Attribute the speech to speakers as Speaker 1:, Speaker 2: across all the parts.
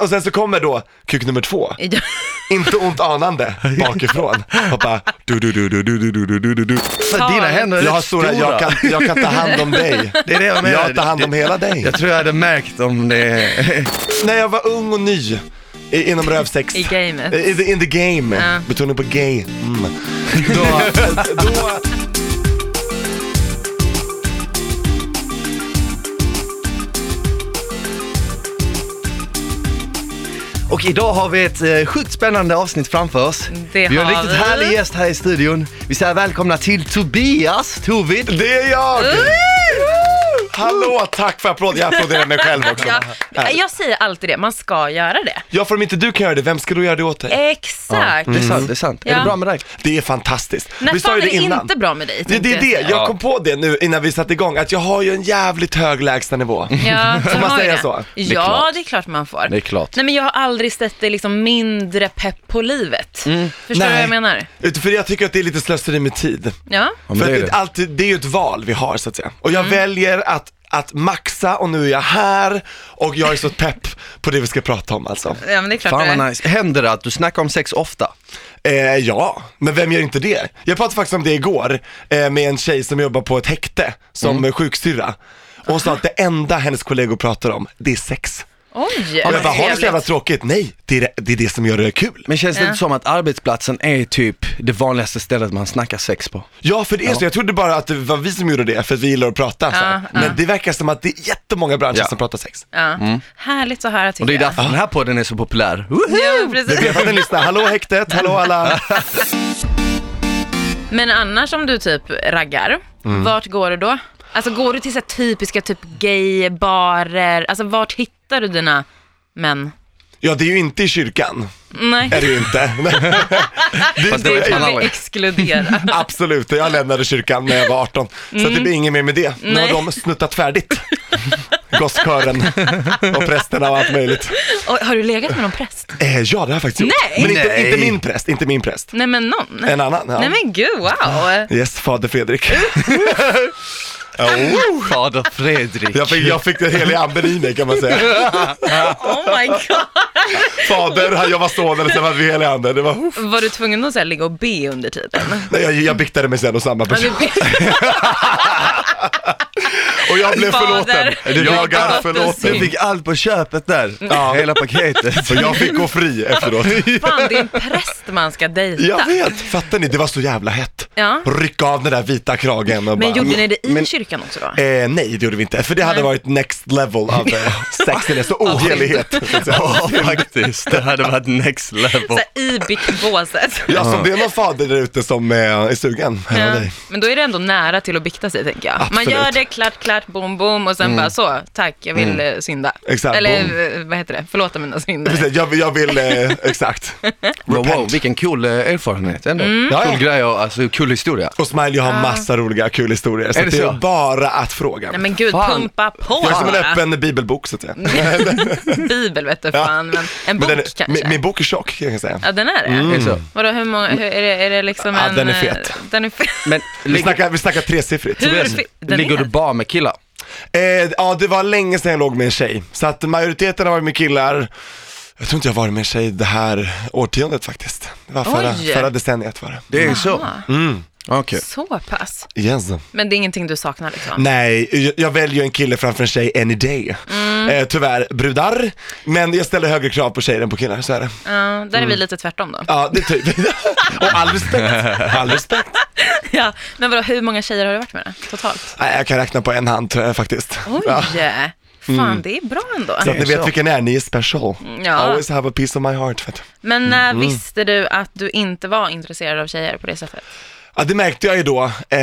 Speaker 1: Och sen så kommer då kuk nummer två, inte ont anande, bakifrån. Och bara, du, du, du, du, du, du, du, du, du, du.
Speaker 2: Fan, dina händer är
Speaker 1: Jag har
Speaker 2: rätt
Speaker 1: stora, jag kan, jag kan ta hand om dig.
Speaker 2: Det är det jag menar.
Speaker 1: Jag tar hand om hela dig.
Speaker 2: Jag tror jag hade märkt om det...
Speaker 1: När jag var ung och ny i- inom rövsex.
Speaker 3: I gamet.
Speaker 1: Eh, In the, in the game.
Speaker 3: Ja.
Speaker 1: Betoning på gay. Mm. Då, då,
Speaker 2: Och idag har vi ett eh, sjukt spännande avsnitt framför oss.
Speaker 3: Det
Speaker 2: vi har en
Speaker 3: har
Speaker 2: riktigt
Speaker 3: vi.
Speaker 2: härlig gäst här i studion. Vi säger välkomna till Tobias Tovid.
Speaker 1: det är jag! Hallå, tack för applåd. Jag applåderar mig själv också.
Speaker 3: Ja, jag säger alltid det, man ska göra det.
Speaker 1: Ja, för om inte du kan göra det, vem ska då göra det åt
Speaker 3: Eh.
Speaker 1: dig?
Speaker 3: Exakt.
Speaker 2: Det är sant, det är sant. Är
Speaker 3: Ja.
Speaker 2: det bra med dig?
Speaker 1: Det är fantastiskt.
Speaker 3: När
Speaker 1: Mm. Vi sa
Speaker 3: fan
Speaker 1: ju
Speaker 3: är
Speaker 1: det
Speaker 3: det
Speaker 1: innan.
Speaker 3: inte bra med dig?
Speaker 1: Det, det är
Speaker 3: tänkte jag
Speaker 1: det,
Speaker 3: säga.
Speaker 1: jag kom på det nu innan vi satte igång, att jag har ju en jävligt hög
Speaker 3: Mm.
Speaker 1: lägstanivå.
Speaker 3: Ja,
Speaker 1: Får
Speaker 3: jag
Speaker 1: man
Speaker 3: har ju
Speaker 1: säga
Speaker 3: det.
Speaker 1: så?
Speaker 3: Ja,
Speaker 4: Det är klart.
Speaker 3: det är klart man får.
Speaker 4: Det är klart.
Speaker 3: Nej, men jag har aldrig sett dig liksom mindre pepp på livet. Förstår du
Speaker 1: Mm. Nej.
Speaker 3: vad jag menar?
Speaker 1: Utom för jag tycker att det är lite slöseri med tid.
Speaker 3: Ja.
Speaker 2: men
Speaker 1: för
Speaker 2: det är
Speaker 1: att
Speaker 2: det.
Speaker 1: Alltid, det är ju ett val vi har så att säga. Och jag
Speaker 3: Mm.
Speaker 1: väljer att, att maxa och nu är jag här och jag är så pepp på det vi ska prata om alltså.
Speaker 3: ja, men det är klart det
Speaker 2: Fan
Speaker 3: är.
Speaker 2: vad nice. Händer det att du snackar om sex ofta?
Speaker 1: Eh, ja, men vem gör inte det? Jag pratade faktiskt om det igår eh, med en tjej som jobbar på ett häkte som mm. sjuksyrra. Och hon sa att det enda hennes kollegor pratar om, det är sex.
Speaker 3: Oj,
Speaker 1: Och jag
Speaker 3: vad
Speaker 1: bara, har du så jävla
Speaker 3: trevligt.
Speaker 1: tråkigt? Nej, det är det, det, är det som gör det kul.
Speaker 2: Men känns det inte som att arbetsplatsen är typ det vanligaste stället man snackar sex på?
Speaker 1: Ja, för det är så. Jag trodde bara att det var vi som gjorde det, för att vi gillar att prata. så här. Men det verkar som att det är jättemånga branscher
Speaker 2: Ja.
Speaker 1: som pratar sex.
Speaker 3: Ja. Härligt att höra tycker
Speaker 2: Och det är
Speaker 3: jag.
Speaker 2: därför den här podden är så populär. Woho!
Speaker 3: Ja,
Speaker 1: Det
Speaker 3: precis.
Speaker 1: vet att ni lyssnar. Hallå häktet, hallå alla.
Speaker 3: Men annars om du typ raggar, vart går du då? Alltså går du till så här typiska typ gaybarer, alltså vart hittar du dina män?
Speaker 1: Ja, det är ju inte i kyrkan.
Speaker 3: Nej,
Speaker 1: Är det ju inte. det är
Speaker 2: Fast det vet
Speaker 1: inte
Speaker 2: man
Speaker 3: vi
Speaker 2: aldrig.
Speaker 3: exkluderar.
Speaker 1: Absolut, jag lämnade kyrkan när jag var 18. Så att det blir inget mer med det. Nu har
Speaker 3: Mm. Nej.
Speaker 1: de snuttat färdigt. Gosskören och prästerna och allt möjligt.
Speaker 3: Oj, har du legat med någon präst?
Speaker 1: Eh, ja, det har jag faktiskt gjort.
Speaker 3: Nej!
Speaker 1: Men inte,
Speaker 2: Nej.
Speaker 1: inte min präst, inte min präst.
Speaker 3: Nej men någon?
Speaker 1: En annan. Ja.
Speaker 3: Nej men gud, wow.
Speaker 1: Yes, fader Fredrik.
Speaker 2: Fader Fredrik.
Speaker 1: Jag fick, jag fick den heliga anden i mig kan man säga.
Speaker 3: Oh my god.
Speaker 1: Fader, han- jag var sonen och sen var vi heliga anden. Det var, uff.
Speaker 3: Var du tvungen att så här, ligga och be under tiden?
Speaker 1: Nej, jag, jag biktade mig sen och samma
Speaker 3: Ja, du
Speaker 1: person.
Speaker 3: be-
Speaker 1: Och jag blev
Speaker 3: Fader.
Speaker 1: förlåten.
Speaker 3: Du fick
Speaker 1: Jag är
Speaker 3: allt
Speaker 1: förlåten.
Speaker 3: du
Speaker 2: Du fick allt på köpet där. Hela paketet.
Speaker 1: Så jag fick gå fri efteråt.
Speaker 3: Fan, det är en präst man ska dejta.
Speaker 1: Jag vet, fattar ni? Det var så jävla hett.
Speaker 3: Ja.
Speaker 1: Rycka av den där vita kragen och
Speaker 3: Men
Speaker 1: bara...
Speaker 3: gjorde ni det i kyrkan också då?
Speaker 1: Eh, nej, det gjorde vi inte, för det hade varit next level av eh, sexiness och ohelighet. så att säga.
Speaker 2: Ja, faktiskt. Det hade varit next level.
Speaker 3: Så här, I biktbåset.
Speaker 1: Ja, så om det är någon fader där ute som eh, är sugen, hör av dig.
Speaker 3: Eh, Men då är det ändå nära till att bikta sig tänker jag. Man
Speaker 1: Absolut. Mm.
Speaker 3: gör det, klart, klart, bom, bom och sen bara så, tack, jag vill eh, synda.
Speaker 1: Exakt,
Speaker 3: Eller
Speaker 1: bom.
Speaker 3: eh, vad heter det, förlåta mina synder.
Speaker 1: Precis, jag, vill- jag vill, eh, exakt.
Speaker 2: Wow, wow, vilken cool eh, erfarenhet ändå.
Speaker 3: Mm.
Speaker 1: Ja, ja.
Speaker 2: Cool grej och alltså cool historia.
Speaker 1: Och Smiley har massa roliga kul historier, så
Speaker 2: Är det
Speaker 1: det, det är
Speaker 2: så?
Speaker 1: bara att fråga.
Speaker 3: Nej men gud,
Speaker 2: Fan.
Speaker 3: pumpa på
Speaker 1: jag är som en
Speaker 3: bara.
Speaker 1: öppen bibelbok så att säga.
Speaker 3: Bibel vet du fan, men en bok
Speaker 1: Men den,
Speaker 3: kanske.
Speaker 1: min, min bok är tjock kan jag säga.
Speaker 3: Ja den är det.
Speaker 2: Är det så?
Speaker 3: Vadå hur många, hur, är, det, är det liksom
Speaker 1: Ja,
Speaker 3: en...
Speaker 1: den är
Speaker 3: eh,
Speaker 1: fet.
Speaker 3: Den är fet.
Speaker 2: Men
Speaker 1: Vi
Speaker 2: ligger,
Speaker 1: snackar, vi snackar tresiffrigt.
Speaker 3: Hur
Speaker 2: Tobias,
Speaker 3: fe- den
Speaker 2: ligger
Speaker 3: är?
Speaker 2: du bara med killar?
Speaker 1: Eh, ja, det var länge sedan jag låg med en tjej. Så att majoriteten har varit med killar. Jag tror inte jag har varit med en tjej det här årtiondet faktiskt. Det var förra,
Speaker 3: Oj.
Speaker 1: förra decenniet var det.
Speaker 2: Det är ju så.
Speaker 1: Mm.
Speaker 2: Okej.
Speaker 3: Så pass.
Speaker 1: Yes.
Speaker 3: Men det är ingenting du saknar liksom?
Speaker 1: Nej, jag, jag väljer en kille framför en tjej any day.
Speaker 3: Mm.
Speaker 1: Eh, tyvärr, brudar. Men jag ställer högre krav på tjejer än på killar, så är det.
Speaker 3: Ja, där är
Speaker 1: Mm.
Speaker 3: vi lite tvärtom då.
Speaker 1: Ja, det är typ. Och all respekt. All respekt.
Speaker 3: Ja. Men vadå, hur många tjejer har du varit med då, totalt?
Speaker 1: Nej, jag kan räkna på en hand tror jag faktiskt.
Speaker 3: Oj!
Speaker 1: Ja. Mm.
Speaker 3: Fan, det är bra ändå.
Speaker 1: Så att ni
Speaker 2: Det är så.
Speaker 1: vet vilken ni är, ni är special.
Speaker 3: Mm, Ja.
Speaker 1: Always have a piece of my heart. Vet du.
Speaker 3: Men när
Speaker 1: Mhm.
Speaker 3: visste du att du inte var intresserad av tjejer på det sättet?
Speaker 1: Ja, det märkte jag ju då, eh,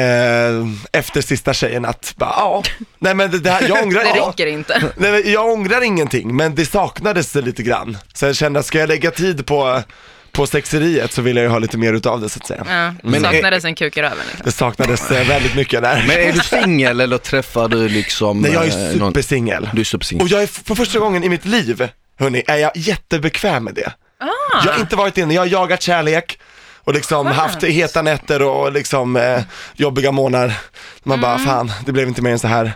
Speaker 1: efter sista tjejen att, bara, ja, nej men det, det här, jag ångrar,
Speaker 3: Det
Speaker 1: ja.
Speaker 3: räcker inte.
Speaker 1: nej, men jag ångrar ingenting, men det saknades lite grann. Så jag kände att ska jag lägga tid på, på sexeriet så vill jag ju ha lite mer utav det så att säga.
Speaker 3: Ja, det
Speaker 2: Men är-
Speaker 3: saknades en kuk i röven. Liksom.
Speaker 1: Det saknades eh, väldigt mycket där.
Speaker 2: Men är du singel eller träffar du liksom
Speaker 1: nej, jag
Speaker 2: eh,
Speaker 1: är
Speaker 2: någon-
Speaker 1: supersingel.
Speaker 2: Du är supersingel.
Speaker 1: Och jag är f- för första gången i mitt liv, hörni, är jag jättebekväm med det. Jag har inte varit inne, jag har jagat kärlek och liksom haft heta nätter och liksom eh, jobbiga månader. Man bara, fan, det blev inte mer än så här.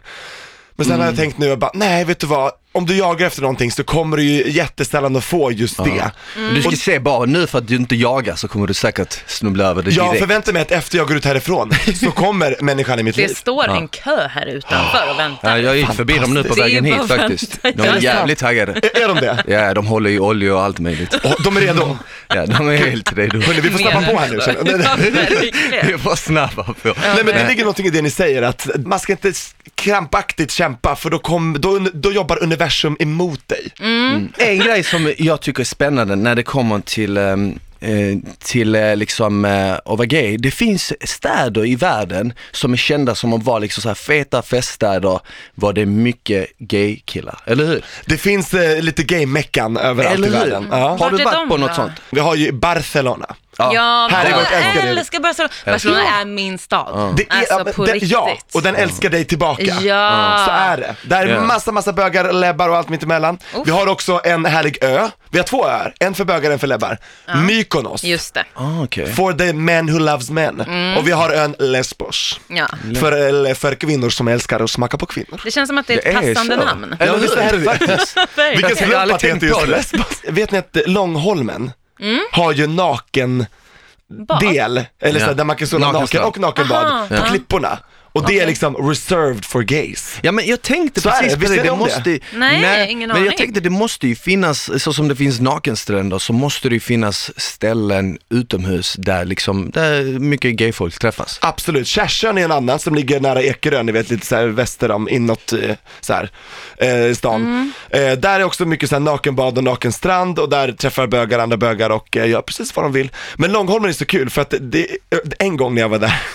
Speaker 1: Men sen har jag tänkt nu, jag bara, nej vet du vad, om du jagar efter någonting så kommer du ju jättesällan att få just det.
Speaker 3: Mm.
Speaker 2: Du ska se bara nu för att du inte jagar så kommer du säkert snubbla över det
Speaker 1: Jag
Speaker 2: direkt.
Speaker 1: förväntar mig att efter jag går ut härifrån så kommer människan i mitt
Speaker 3: Det
Speaker 1: liv.
Speaker 3: står en kö här utanför och
Speaker 2: Ja,
Speaker 3: väntar.
Speaker 2: jag gick förbi dem nu på
Speaker 3: Det är
Speaker 2: vägen
Speaker 3: bara
Speaker 2: hit
Speaker 3: att vänta.
Speaker 2: faktiskt. De
Speaker 3: Ja,
Speaker 2: är
Speaker 3: sant.
Speaker 2: jävligt taggade.
Speaker 1: Är, är de det?
Speaker 2: Ja, de håller i olja och allt möjligt.
Speaker 1: Åh, de är redo.
Speaker 2: Ja, de är helt redo.
Speaker 1: Hörrni, vi får snabba på här nu.
Speaker 3: Ja,
Speaker 1: känner jag.
Speaker 3: verkligen.
Speaker 2: Vi får snabba på.
Speaker 1: Nej men det
Speaker 2: Nej.
Speaker 1: ligger någonting i det ni säger att man ska inte s- krampaktigt kämpa för då, kom, då, un- då jobbar universum emot dig.
Speaker 3: Mm.
Speaker 2: En grej som jag tycker är spännande när det kommer till ehm, eh, till eh, liksom eh, att vara gay. Det finns städer i världen som är kända som att vara liksom så här feta feststäder var det mycket gay-killar, eller hur?
Speaker 1: Det finns eh, lite gay-meckan överallt
Speaker 2: Eller
Speaker 1: i
Speaker 2: hur?
Speaker 1: världen. Ja.
Speaker 2: Har
Speaker 3: Vart
Speaker 2: du
Speaker 3: är
Speaker 2: varit
Speaker 3: de
Speaker 2: på
Speaker 3: då?
Speaker 2: något sånt?
Speaker 1: Vi har ju Barcelona.
Speaker 3: Ja,
Speaker 1: Här är
Speaker 3: Barcelona.
Speaker 1: vårt älskade-
Speaker 3: jag älskar Barcelona. Barcelona är min stad.
Speaker 1: Det är,
Speaker 3: Alltså på
Speaker 1: den,
Speaker 3: riktigt.
Speaker 1: ja, och den älskar dig tillbaka.
Speaker 3: Ja.
Speaker 1: Så är det. Där är
Speaker 2: Ja.
Speaker 1: massa, massa bögar, läbbar och allt mitt emellan. Vi har också en härlig ö. Vi har två öar, en för bögar, en för läbbar. Mykonos.
Speaker 3: Just det. Mm.
Speaker 2: Ah, okej.
Speaker 1: For the men who loves men. Och vi har ön Lesbos.
Speaker 3: Ja.
Speaker 1: För, eller för kvinnor som älskar att smaka på kvinnor.
Speaker 3: Det känns som att det är ett
Speaker 2: Det är
Speaker 3: passande
Speaker 2: så.
Speaker 3: namn.
Speaker 2: Eller
Speaker 1: Ja, visst
Speaker 2: hur?
Speaker 1: är det faktiskt. Vilken
Speaker 3: Verkligen.
Speaker 1: slump
Speaker 2: Jag har aldrig
Speaker 1: att det
Speaker 2: tänkt
Speaker 1: heter just
Speaker 2: på det.
Speaker 1: Lesbos. Vet ni att eh, Långholmen har ju naken del, eller såhär,
Speaker 2: Ja.
Speaker 1: där man kan stå naken
Speaker 2: Nakenstrand.
Speaker 1: och nakenbad
Speaker 3: Aha.
Speaker 1: på
Speaker 3: Ja.
Speaker 1: klipporna. Och det är liksom reserved for gays.
Speaker 2: Ja men jag tänkte
Speaker 1: Så är
Speaker 2: precis
Speaker 1: det, visst
Speaker 2: på
Speaker 1: är
Speaker 2: det,
Speaker 1: det
Speaker 2: det
Speaker 1: om
Speaker 2: måste
Speaker 1: det?
Speaker 3: Nej, ingen
Speaker 2: Men
Speaker 3: aning.
Speaker 2: jag tänkte det måste ju finnas, så som det finns nakenstränder så måste det ju finnas ställen utomhus där liksom, där mycket gayfolk träffas.
Speaker 1: Absolut, Kärsön är en annan som ligger nära Ekerö, ni vet lite såhär väster om, inåt eh, såhär, eh, stan.
Speaker 3: Mm.
Speaker 1: Eh, där är också mycket såhär nakenbad och nakenstrand och där träffar bögar andra bögar och eh, gör precis vad de vill. Men Långholmen är så kul för att det- det, eh, en gång när jag var där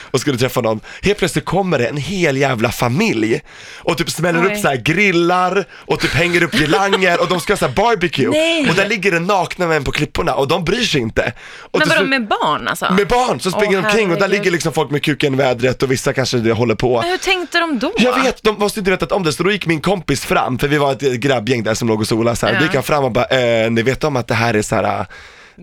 Speaker 1: och skulle träffa någon, helt plötsligt kommer det en hel jävla familj och typ smäller
Speaker 3: Oj.
Speaker 1: upp så här grillar och typ hänger upp girlanger och de ska ha så här barbecue
Speaker 3: Nej.
Speaker 1: och där ligger det nakna män på klipporna och de bryr sig inte. Och
Speaker 3: Men
Speaker 1: till
Speaker 3: vadå
Speaker 1: slut-
Speaker 3: med barn alltså?
Speaker 1: med barn som springer
Speaker 3: Åh,
Speaker 1: omkring och där
Speaker 3: herregud.
Speaker 1: ligger liksom folk med kuken i vädret och vissa kanske det håller på.
Speaker 3: Men hur tänkte de då?
Speaker 1: Jag vet, de måste inte vetat om det, så då gick min kompis fram, för vi var ett grabbgäng där som låg och solade så här.
Speaker 3: Ja.
Speaker 1: då gick han fram och bara, eh, ni vet om att det här är så här,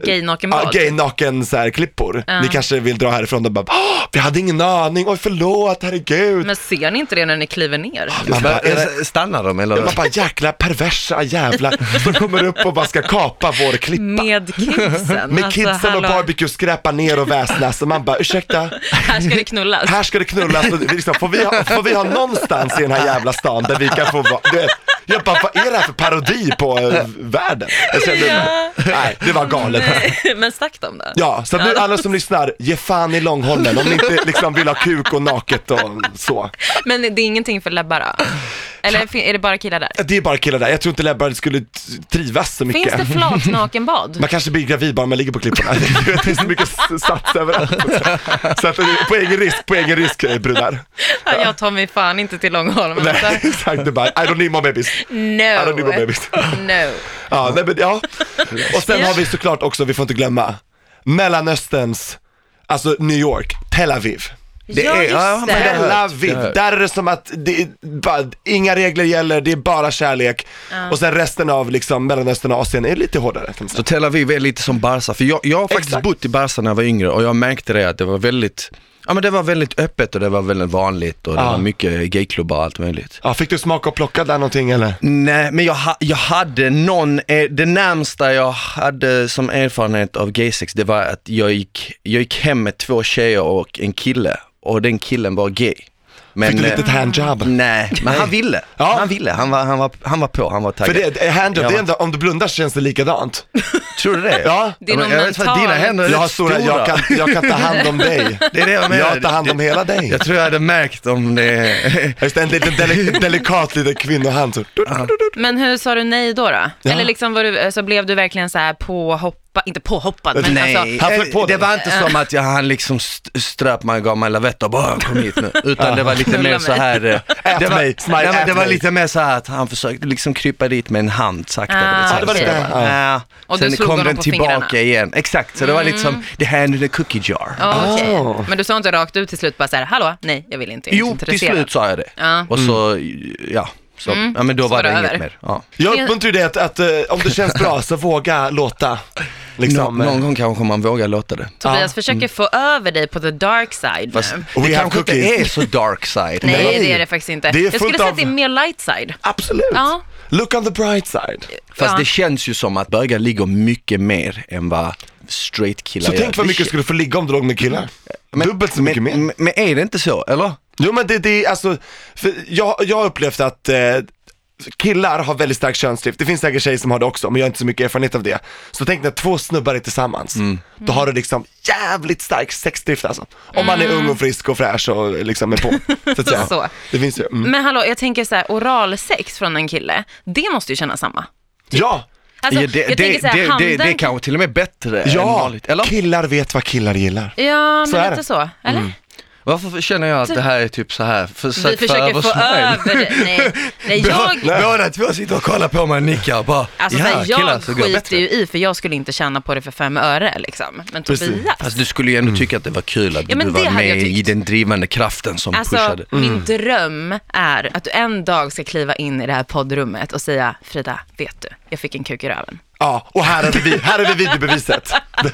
Speaker 3: Gay nakenbad.
Speaker 1: ah, gay naken så här, klippor, ni kanske vill dra härifrån, de bara, "Åh, vi hade ingen aning, oj förlåt, herregud.
Speaker 3: Men ser ni inte det när ni kliver ner?
Speaker 1: Man bara, är det...
Speaker 2: Stannar de eller?
Speaker 1: Man bara jäkla perversa jävlar som kommer upp och bara ska kapa vår klippa.
Speaker 3: Med kidsen.
Speaker 1: Med
Speaker 3: Mm, Alltså,
Speaker 1: kidsen och
Speaker 3: hallå.
Speaker 1: barbecue skräpa ner och väsnas och man bara ursäkta,
Speaker 3: Här ska det knullas.
Speaker 1: här ska det knullas och vi liksom, får, vi ha, får vi ha någonstans i den här jävla stan där vi kan få vara, du vet, jag bara, vad är det här för parodi på eh, världen? Jag kände,
Speaker 3: Ja.
Speaker 1: nej, det var galet.
Speaker 3: Nej, Men stack de då?
Speaker 1: Ja, så att nu alla som lyssnar, ge fan i Långholmen om ni inte liksom vill ha kuk och naket och så.
Speaker 3: Men det är ingenting för läbbar då? Eller fin- är det bara killar där?
Speaker 1: Det är bara killar där, jag tror inte läbbar skulle t- trivas så
Speaker 3: Finns
Speaker 1: mycket.
Speaker 3: det flatnakenbad?
Speaker 1: Man kanske blir gravid bara man ligger på klipporna. Du vet, Det finns så mycket s- sats överallt. Så att, eh, på egen risk, på egen risk eh, brudar.
Speaker 3: Ja, Jag tar mig fan inte till Långholmen.
Speaker 1: Nej,
Speaker 3: alltså.
Speaker 1: exakt, det är bara, I don't need more babies. I don't need more
Speaker 3: No.
Speaker 1: babies.
Speaker 3: No.
Speaker 1: Ja, nej, men, ja. Och sen har vi såklart också, vi får inte glömma, Mellanösterns, alltså New York, Tel Aviv.
Speaker 2: Det
Speaker 3: ja,
Speaker 2: är-
Speaker 3: just
Speaker 2: ja,
Speaker 3: det.
Speaker 2: men det-
Speaker 1: Tel Aviv, där är det som att det är, bara, inga regler gäller, det är bara kärlek. Och sen resten av liksom Mellanöstern och Asien är lite hårdare. kan man säga.
Speaker 2: Så Tel Aviv är lite som Barca, för jag, jag har faktiskt
Speaker 1: Exakt.
Speaker 2: bott i Barca när jag var yngre och jag märkte det att det var väldigt, ja men det var väldigt öppet och det var väldigt vanligt och det
Speaker 1: Ja.
Speaker 2: var mycket gayklubbar och allt möjligt.
Speaker 1: Ja, fick du smaka och plocka där någonting eller?
Speaker 2: Nej, men jag, ha, jag hade någon, eh, det närmsta jag hade som erfarenhet av gaysex, det var att jag gick, jag gick hem med två tjejer och en kille och den killen var gay. Men,
Speaker 1: Fick du
Speaker 2: eh,
Speaker 1: litet handjob?
Speaker 2: Nej, men han ville.
Speaker 1: Ja.
Speaker 2: Han ville, han var, han, var, han var på, han var
Speaker 1: För
Speaker 2: taggad.
Speaker 1: det, eh, handjob,
Speaker 2: Ja.
Speaker 1: det är ändå, om du blundar känns det likadant.
Speaker 2: Tror du det?
Speaker 1: Ja.
Speaker 3: Det är
Speaker 2: men
Speaker 3: någon
Speaker 2: jag vet för att
Speaker 3: mental-
Speaker 2: dina händer är
Speaker 1: Jag har
Speaker 2: rätt
Speaker 1: stora, jag kan, jag kan ta hand om dig.
Speaker 2: Det är det jag menar.
Speaker 1: Jag tar hand om hela dig.
Speaker 2: Jag tror jag hade märkt om det...
Speaker 1: Just det, en liten dele, delikat liten kvinnohand så.
Speaker 3: Men hur sa du nej då? då?
Speaker 1: Ja.
Speaker 3: Eller liksom var du, alltså, blev du verkligen så här påhoppa, inte påhoppad, men
Speaker 2: Nej,
Speaker 3: alltså,
Speaker 1: han flög på
Speaker 2: det
Speaker 1: den.
Speaker 2: var inte som att jag, han liksom st- ströp mig och gav mig lavett och bara kom hit nu. Utan det var lite
Speaker 3: Knulla
Speaker 2: mer så här. eh,
Speaker 1: Ät
Speaker 2: det var,
Speaker 1: mig, Smile,
Speaker 2: nej, men
Speaker 1: ät
Speaker 2: det var
Speaker 1: mig.
Speaker 2: lite mer så här att han försökte liksom krypa dit med en hand sakta.
Speaker 3: Ah,
Speaker 2: du
Speaker 3: Ja, det
Speaker 2: vet, så här.
Speaker 3: var
Speaker 1: lite-
Speaker 2: Så jag bara, "Ah."
Speaker 3: Och du
Speaker 2: Sen
Speaker 3: slog
Speaker 2: kom
Speaker 3: honom
Speaker 2: den
Speaker 3: på
Speaker 2: tillbaka
Speaker 3: fingrarna. Mm.
Speaker 2: igen. Exakt, så det var lite som the hand in a cookie jar.
Speaker 3: Ja, okej.
Speaker 1: Ah.
Speaker 3: Men du sa inte rakt ut till slut bara så här, hallå, nej, jag vill inte, jag är
Speaker 2: Jo,
Speaker 3: inte
Speaker 2: till
Speaker 3: intresserad.
Speaker 2: slut sa jag det.
Speaker 3: Ja. Mm.
Speaker 2: Och så, ja. Så, ja men då
Speaker 3: Så
Speaker 2: var
Speaker 3: var
Speaker 2: det
Speaker 3: det
Speaker 2: inget
Speaker 3: över.
Speaker 2: mer. Ja.
Speaker 1: Jag uppmuntrar ju dig att, att eh, om det känns bra så våga låta. liksom,
Speaker 2: Nå-
Speaker 1: eh,
Speaker 2: någon gång kanske man vågar låta det.
Speaker 3: Tobias försöker få över dig på the dark side
Speaker 2: Mm. Fast
Speaker 3: nu.
Speaker 1: We
Speaker 2: det
Speaker 1: have
Speaker 2: kanske inte
Speaker 1: cookies.
Speaker 2: är så dark side.
Speaker 3: Nej,
Speaker 1: nej.
Speaker 3: det är det faktiskt inte.
Speaker 1: Det är
Speaker 3: jag skulle
Speaker 1: fullt
Speaker 3: säga
Speaker 1: av-
Speaker 3: att det är mer light side.
Speaker 1: Absolut.
Speaker 3: Ja.
Speaker 1: Look on the bright side.
Speaker 2: Fast
Speaker 3: Ja.
Speaker 2: det känns ju som att bögar ligger mycket mer än vad straight killar
Speaker 1: Så
Speaker 2: gör.
Speaker 1: tänk vad
Speaker 2: Det
Speaker 1: mycket
Speaker 2: kän-
Speaker 1: skulle du få ligga om du låg med killar. Dubbelt så mycket mer.
Speaker 2: men, men är det inte så, eller?
Speaker 1: Jo men det, det är alltså, för jag, jag har upplevt att eh, killar har väldigt stark könsdrift, det finns säkert tjejer som har det också men jag har inte så mycket erfarenhet av det. Så tänk när två snubbar är tillsammans,
Speaker 2: Mm.
Speaker 1: då har du liksom jävligt stark sexdrift alltså. Om man är
Speaker 2: Mm.
Speaker 1: ung och frisk och fräsch och liksom är på. Så att säga.
Speaker 3: Så.
Speaker 1: Det finns ju. Mm.
Speaker 3: Men hallå, jag tänker så här, oralsex från en kille, det måste ju kännas samma.
Speaker 1: Ja,
Speaker 3: Alltså,
Speaker 2: Ja, det,
Speaker 3: jag
Speaker 2: det,
Speaker 3: tänker så här,
Speaker 2: det, det,
Speaker 3: handen...
Speaker 2: det är kanske till och med bättre än
Speaker 1: ja,
Speaker 2: vanligt, eller?
Speaker 1: killar vet vad killar gillar.
Speaker 3: Ja,
Speaker 1: Så
Speaker 3: men
Speaker 1: är
Speaker 3: lite
Speaker 1: det.
Speaker 3: så. Eller?
Speaker 2: Varför känner jag att det här är typ så här? Försök
Speaker 3: Vi försöker få över det. Nej, nej jag...
Speaker 2: Båda två sitter och kollar på mig och nickar och bara,
Speaker 3: Alltså,
Speaker 2: ja
Speaker 3: så här, jag
Speaker 2: killar så går det
Speaker 3: skiter
Speaker 2: bättre.
Speaker 3: ju i, för jag skulle inte tjäna på det för fem öre liksom. Men
Speaker 1: Precis.
Speaker 3: Tobias,
Speaker 2: Fast du skulle ju ändå tycka att det var kul att
Speaker 3: Ja, men
Speaker 2: du
Speaker 3: det
Speaker 2: var
Speaker 3: hade jag
Speaker 2: med i
Speaker 3: tyckt.
Speaker 2: den drivande kraften som
Speaker 3: alltså
Speaker 2: pushade.
Speaker 3: min dröm är att du en dag ska kliva in i det här poddrummet och säga, Frida, vet du, jag fick en kuk i röven.
Speaker 1: Ja, och här är vi, här är vi videobeviset. The,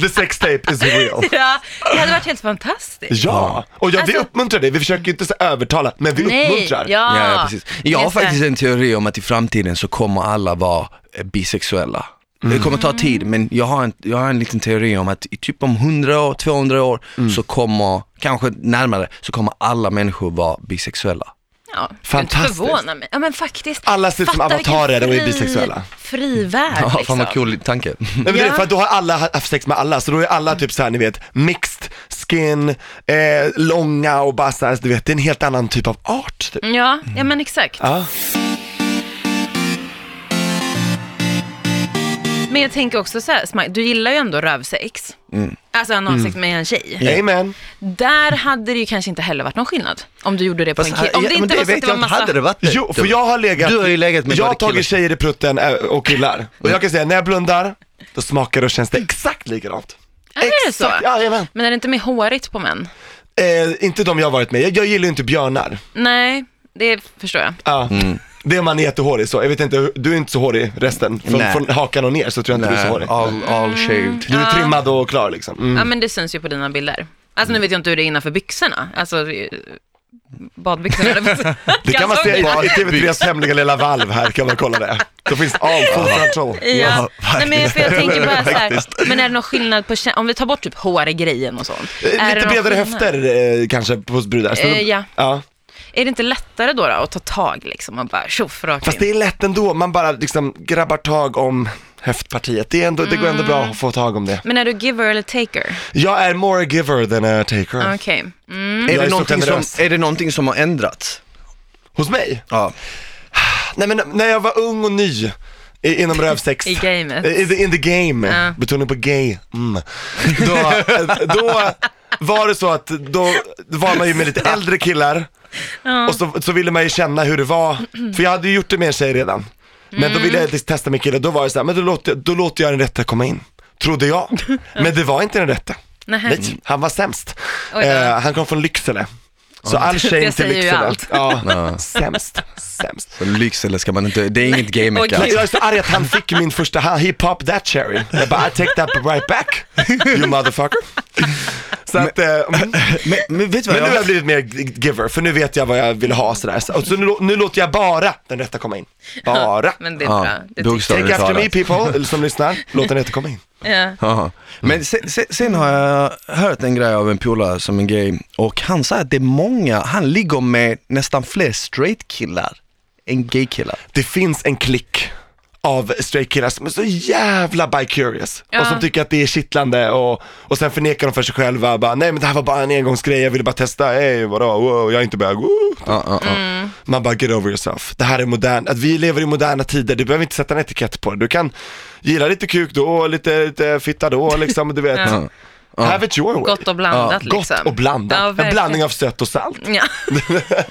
Speaker 1: the sex tape is real.
Speaker 3: Ja, det hade varit helt fantastiskt.
Speaker 1: Ja, och ja, vi
Speaker 3: Alltså-
Speaker 1: uppmuntrar dig, vi försöker inte så övertala, men vi
Speaker 3: Nej,
Speaker 1: uppmuntrar.
Speaker 3: ja.
Speaker 2: Ja, precis. Jag har
Speaker 3: Just det.
Speaker 2: faktiskt en teori om att i framtiden så kommer alla vara eh, bisexuella. Det kommer ta tid, men jag har, en, jag har en liten teori om att i typ om 100 år, 200 år, så kommer, kanske närmare, så kommer alla människor vara bisexuella.
Speaker 3: Ja,
Speaker 1: Fantastiskt.
Speaker 3: Det förvånar mig. Ja, men faktiskt.
Speaker 1: Alla ser ut som
Speaker 3: Fatta vilken
Speaker 1: avatarer och är
Speaker 3: fri-
Speaker 1: bisexuella.
Speaker 3: Fri värld
Speaker 2: Ja, fan
Speaker 3: liksom.
Speaker 2: vad cool tanke.
Speaker 1: Nej, men det,
Speaker 3: Ja.
Speaker 1: är för att då har alla haft sex med alla, så då är alla typ såhär ni vet, mixed skin, eh, långa och bara såhär, du vet, det är en helt annan typ av art. Typ.
Speaker 3: Ja, ja men exakt.
Speaker 1: Ja.
Speaker 3: Men jag tänker också så här, Smaj, du gillar ju ändå rövsex. Alltså analsex med en tjej.
Speaker 1: Amen.
Speaker 3: Där hade det ju kanske inte heller varit någon skillnad. Om du gjorde det på en kille. Om
Speaker 2: ja,
Speaker 3: det
Speaker 2: men
Speaker 3: inte var så att
Speaker 2: vet
Speaker 3: det var
Speaker 2: jag inte,
Speaker 3: massa...
Speaker 2: hade det varit det?
Speaker 1: Jo, för jag har legat,
Speaker 2: Typ. Du har ju legat med
Speaker 1: jag har
Speaker 2: både
Speaker 1: tagit
Speaker 2: killar-
Speaker 1: tjejer i prutten eh, och killar. Och jag kan säga, när jag blundar, då smakar det och känns det exakt likadant.
Speaker 3: Är det så?
Speaker 1: Exakt, ja, jajamän.
Speaker 3: Men är det inte mer hårigt på män?
Speaker 1: eh, Inte de jag har varit med, jag, jag gillar ju inte björnar.
Speaker 3: Nej, det förstår jag.
Speaker 1: Ja.
Speaker 2: Mm.
Speaker 1: Det är man är jättehårig så, jag vet inte, du är inte så hårig resten. Från,
Speaker 2: Nej.
Speaker 1: från hakan och ner så tror jag inte du är så hårig.
Speaker 2: all, all shaved.
Speaker 1: Du är trimmad och klar liksom. Mm.
Speaker 3: Ja men det syns ju på dina bilder. Alltså nu vet jag inte hur det är innanför byxorna. Alltså eh, badbyxorna eller
Speaker 1: Det kan man se i, i
Speaker 3: Kalsongerna.
Speaker 1: TV3s hemliga lilla valv här, kan man kolla det. Då finns Eh, all full control.
Speaker 3: Ja, Nej, men för jag tänker bara så
Speaker 1: Faktiskt.
Speaker 3: här, men är det någon skillnad på, kä- om vi tar bort typ hårgrejen och sånt.
Speaker 1: Eh,
Speaker 3: är det
Speaker 1: Lite
Speaker 3: någon
Speaker 1: bredare
Speaker 3: skillnad?
Speaker 1: höfter eh, kanske hos brudar. Så-
Speaker 3: Eh, ja.
Speaker 1: ja.
Speaker 3: Är det inte lättare då, då att ta tag liksom och bara tjoff rakt
Speaker 1: Fast
Speaker 3: in?
Speaker 1: det är lätt ändå, man bara liksom grabbar tag om höftpartiet. Det, är ändå, det går ändå
Speaker 3: Mm.
Speaker 1: bra att få tag om det.
Speaker 3: Men är du giver eller taker?
Speaker 1: Jag är more a giver than a taker.
Speaker 3: Okej. Mm.
Speaker 1: Jag är
Speaker 2: Är det,
Speaker 1: så
Speaker 2: någonting som,
Speaker 1: generös.
Speaker 2: är det någonting som har ändrats?
Speaker 1: Hos mig?
Speaker 2: Ja.
Speaker 1: Nej men när jag var ung och ny i- inom rövsex.
Speaker 3: I gamet.
Speaker 1: Eh, In the, in the game.
Speaker 3: Ja.
Speaker 1: Betoning på gay. Mm. Då, eh, då var det så att då var man ju med lite äldre killar och så, så ville man ju känna hur det var. För jag hade ju gjort det med en tjej redan. Men då ville jag
Speaker 3: Mm.
Speaker 1: liksom testa med killar, då var det så här, men då låter, då låter jag den rätta komma in. Trodde jag. Men det var inte den rätta.
Speaker 3: Nähä.
Speaker 1: Nej, han var sämst.
Speaker 3: Oj då.
Speaker 1: Eh, han kom från Lycksele. Så all
Speaker 3: Det
Speaker 1: shame till
Speaker 3: säger ju
Speaker 1: Lycksele.
Speaker 3: allt.
Speaker 1: Ja, sämst, sämst.
Speaker 2: Så Lycksele ska man inte, det är inget gay
Speaker 3: Och
Speaker 2: mecka.
Speaker 3: gay-
Speaker 1: Jag är så arg att han fick min första hand, he popped that cherry. Jag bara, I take that right back, you motherfucker. Så att, eh, men
Speaker 2: Men, men vet du vad
Speaker 1: nu
Speaker 2: jag...
Speaker 1: har jag blivit mer g- giver, för nu vet jag vad jag vill ha sådär. Så, och så nu, lå- nu låter jag bara den rätta komma in. Bara.
Speaker 3: Men det är
Speaker 2: Ja,
Speaker 3: bra. Det
Speaker 2: bokstavligt.
Speaker 3: tycker
Speaker 1: Take after me
Speaker 2: talat.
Speaker 1: people, eller som lyssnar, låt den rätta komma in.
Speaker 3: jag. Ja.
Speaker 1: Mm.
Speaker 2: Jaha. Men sen, sen, sen har jag hört en grej av en polare som en gay och han sa att det är många, han ligger med nästan fler straight killar än gay killar.
Speaker 1: Det finns en klick av straight killar som är så jävla bi-curious
Speaker 3: Ja.
Speaker 1: och som tycker att det är kittlande och, och sen förnekar de för sig själva bara, nej men det här var bara en engångsgrej, jag ville bara testa, hej vadå, wow, jag är inte bög, woo."
Speaker 2: Ja, ja, ja.
Speaker 3: Mm.
Speaker 1: Man bara get over yourself. Det här är modern, att vi lever i moderna tider, du behöver inte sätta en etikett på det. Du kan gilla lite kuk då, lite, lite fitta då liksom, du vet.
Speaker 2: Ja.
Speaker 1: Have it your way.
Speaker 3: Gott och blandat
Speaker 1: Gott
Speaker 3: liksom.
Speaker 1: och blandat.
Speaker 3: Ja,
Speaker 1: en
Speaker 3: verkligen.
Speaker 1: blandning av sött och salt.
Speaker 3: Ja.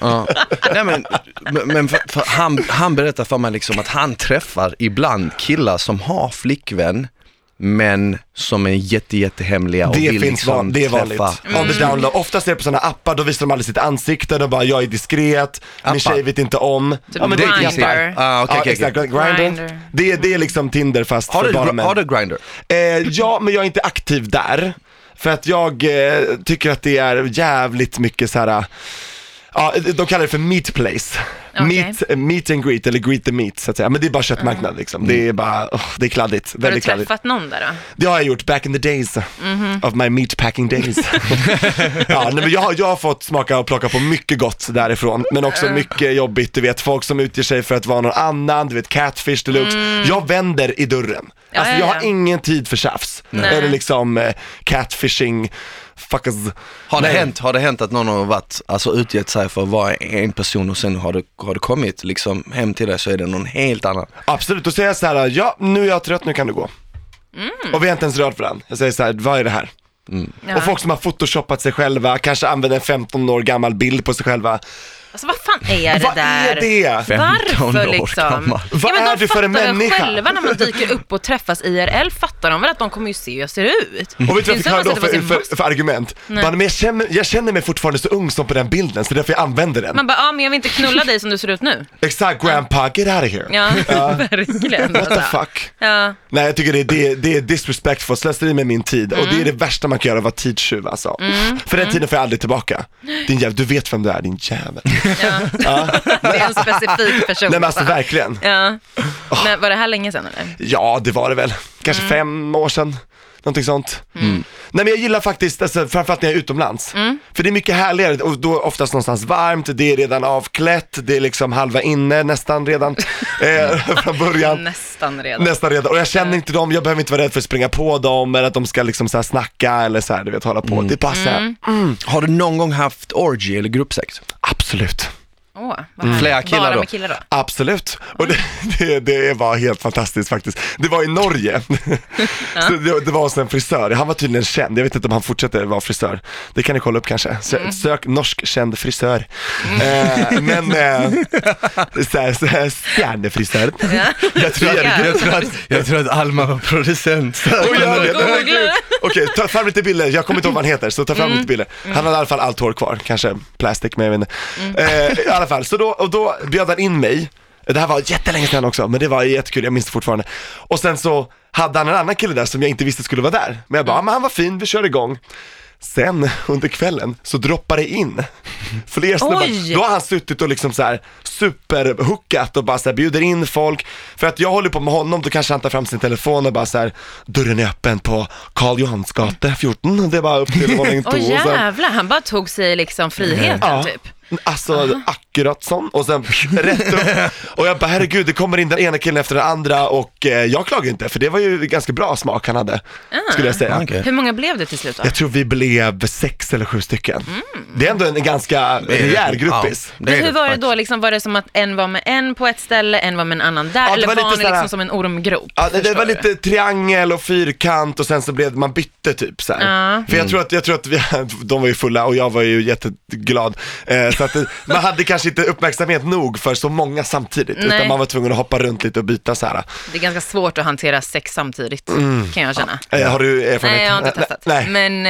Speaker 2: Ja. Nej, men, men- men för, för han, han berättar för mig liksom att han träffar ibland killar som har flickvän men som är jätte, jättehemliga och
Speaker 1: Det
Speaker 2: vill
Speaker 1: finns
Speaker 2: liksom
Speaker 1: van, det är vanligt.
Speaker 2: träffa.
Speaker 3: Mm.
Speaker 2: Mm.
Speaker 1: On the down low. Oftast är det på sådana appar, då visar de aldrig sitt ansikte, de bara jag är diskret,
Speaker 2: Appar.
Speaker 1: min tjej vet inte om.
Speaker 3: Ja, men det är
Speaker 2: Dating
Speaker 3: Grindr.
Speaker 2: site. Ah, okay,
Speaker 1: ja,
Speaker 2: okay,
Speaker 1: exakt, Grindr.
Speaker 3: Typ- Grindr.
Speaker 1: Det, är- det är liksom Tinder fast
Speaker 2: Har,
Speaker 1: för
Speaker 2: du,
Speaker 1: bara män.
Speaker 2: har du Grindr?
Speaker 1: Eh, ja, men jag är inte aktiv där. För att jag eh, tycker att det är jävligt mycket så här. eh, Ja, de kallar det för meet place.
Speaker 3: Okej.
Speaker 1: Meet, eh, meet and greet, eller greet the meet så att säga. Men det är bara köttmarknad liksom. Det är bara, åh, det är kladdigt.
Speaker 3: Mm. Har du
Speaker 1: Väldigt kladdigt.
Speaker 3: träffat någon där då?
Speaker 1: Det har jag gjort back in the days of my meatpacking days. ja, nej, men jag, har, jag har fått smaka och plocka på mycket gott därifrån, men
Speaker 3: Mm.
Speaker 1: också mycket jobbigt. Du vet, folk som utger sig för att vara någon annan, du vet catfish deluxe. Jag vänder i dörren.
Speaker 3: Mm. Ja,
Speaker 1: alltså
Speaker 3: ja,
Speaker 1: jag
Speaker 3: ja.
Speaker 1: har ingen tid för tjafs.
Speaker 3: Nej.
Speaker 1: Eller liksom eh, catfishing, fuckers.
Speaker 2: Har det,
Speaker 1: Nej.
Speaker 2: hänt, har det hänt att någon har varit, alltså utgett sig för att vara en person och sen har du, har du kommit liksom hem till dig så är det någon helt annan?
Speaker 1: Absolut, då säger jag så här, ja nu är jag trött, nu kan du gå. Och vi har inte ens rört varandra. Jag säger så här, vad är det här?
Speaker 3: Mm. Ja.
Speaker 1: Och folk som har photoshopat sig själva, kanske använder en 15 år gammal bild på sig själva.
Speaker 3: Alltså vad fan är det
Speaker 1: Vad
Speaker 3: där?
Speaker 1: är det?
Speaker 2: 15
Speaker 3: Varför
Speaker 2: år
Speaker 3: liksom?
Speaker 2: gammal.
Speaker 1: Vad
Speaker 3: men de
Speaker 1: är du för en
Speaker 3: fattar väl
Speaker 1: människa?
Speaker 3: själva när man dyker upp och träffas IRL fattar de väl att de kommer ju se hur jag ser ut?
Speaker 1: Och vet du
Speaker 3: Det är
Speaker 1: vad jag fick
Speaker 3: så
Speaker 1: höra
Speaker 3: att
Speaker 1: då
Speaker 3: det var
Speaker 1: för,
Speaker 3: sin
Speaker 1: för, för argument? Bara, men jag, känner, jag känner mig fortfarande så ung som på den bilden, så därför jag använder den.
Speaker 3: Man bara, ja men jag vill inte knulla dig som du ser ut nu.
Speaker 1: Exakt, grandpa, get out of here.
Speaker 3: Ja, verkligen. alltså.
Speaker 1: What the fuck?
Speaker 3: Ja.
Speaker 1: Nej jag tycker det är, det, det är disrespectful, slöseri med min tid och
Speaker 3: Mm.
Speaker 1: det är det värsta man kan göra, vara tidstjuv alltså. För den tiden får jag aldrig tillbaka. Din jävel, du vet vem du är din jävel.
Speaker 3: Det är en specifik person.
Speaker 1: Nej men alltså
Speaker 3: bara.
Speaker 1: verkligen.
Speaker 3: ja. Men var det här länge sedan eller?
Speaker 1: Ja, det var det väl. Kanske fem år sedan. Någonting sånt. Nej men jag gillar faktiskt, alltså, framförallt när jag är utomlands. För det är mycket härligare och då oftast någonstans varmt, det är redan avklätt, det är liksom halva inne nästan redan eh, från början.
Speaker 3: Nästan redan.
Speaker 1: Nästan redan, och jag känner inte dem, jag behöver inte vara rädd för att springa på dem eller att de ska liksom så här snacka eller så här, du vet hålla på. Det passar.
Speaker 2: Har du någon gång haft orgy eller gruppsex?
Speaker 1: Absolut.
Speaker 3: Åh, vad härligt.
Speaker 2: Flera killar
Speaker 3: Bara
Speaker 2: då?
Speaker 3: med killar då?
Speaker 1: Absolut, och det, det, det var helt fantastiskt faktiskt. Det var i Norge, så det, det var hos en frisör, han var tydligen känd, jag vet inte om han fortsätter vara frisör. Det kan ni kolla upp kanske, Sö, sök norsk känd frisör. Eh, men, eh, så här, så här, stjärnefrisör. Jag tror jag
Speaker 3: Ja.
Speaker 2: tror att, jag tror att Alma var producent.
Speaker 1: Oj, jag vet.
Speaker 3: Googla.
Speaker 1: Herregud. Okej, ta fram lite bilder. Jag kommer inte ihåg vad han heter, så ta fram lite bilder. Han hade i alla fall allt hår kvar, kanske plastic, men jag vet inte. Eh, I alla fall, så då, och då bjöd han in mig. Det här var jättelänge sedan också, men det var jättekul, jag minns det fortfarande. Och sen så hade han en annan kille där som jag inte visste skulle vara där. Men jag bara, ah, men han var fin, vi kör igång. Sen under kvällen så droppar det in fler
Speaker 3: Oj!
Speaker 1: snubbar. Då har han suttit och liksom så här superhookat och bara så här bjuder in folk. För att jag håller på med honom, då kanske han tar fram sin telefon och bara så här, dörren är öppen på Karl Johansgata 14. Och Det är bara upp till våning två.
Speaker 3: Åh
Speaker 1: och så här.
Speaker 3: jävlar, han bara tog sig liksom friheten
Speaker 1: Ja.
Speaker 3: typ.
Speaker 1: Alltså akkurat sån och sen rätt upp. Och jag bara herregud det kommer in den ena killen efter den andra och eh, jag klagar inte för det var ju ganska bra smak han hade.
Speaker 3: Ah.
Speaker 1: Skulle jag säga.
Speaker 2: Okej.
Speaker 3: Hur många blev det till slut då?
Speaker 1: Jag tror vi blev sex eller sju stycken.
Speaker 3: Mm.
Speaker 1: Det är ändå en ganska rejäl gruppis.
Speaker 2: Ja, är
Speaker 3: Men hur var det
Speaker 2: faktiskt.
Speaker 3: då, liksom, var det som att en var med en på ett ställe, en var med en annan där,
Speaker 1: det
Speaker 3: eller
Speaker 1: var
Speaker 3: var,
Speaker 1: lite
Speaker 3: ni
Speaker 1: såhär-
Speaker 3: liksom som en ormgrop?
Speaker 1: Ja, det, det
Speaker 3: Förstår
Speaker 1: var
Speaker 3: du?
Speaker 1: lite triangel och fyrkant och sen så blev man bytte typ så här.
Speaker 3: Ja.
Speaker 1: För jag tror att, jag tror att vi, de var ju fulla och jag var ju jätteglad. Eh, så att det, man hade kanske inte uppmärksamhet nog för så många samtidigt utan
Speaker 3: Nej.
Speaker 1: man var tvungen att hoppa runt lite och byta så här.
Speaker 3: Det är ganska svårt att hantera sex samtidigt, kan jag känna.
Speaker 1: Eh, har du erfarenhet?
Speaker 3: Nej, jag har inte testat.
Speaker 1: Nej. nej.
Speaker 3: Men,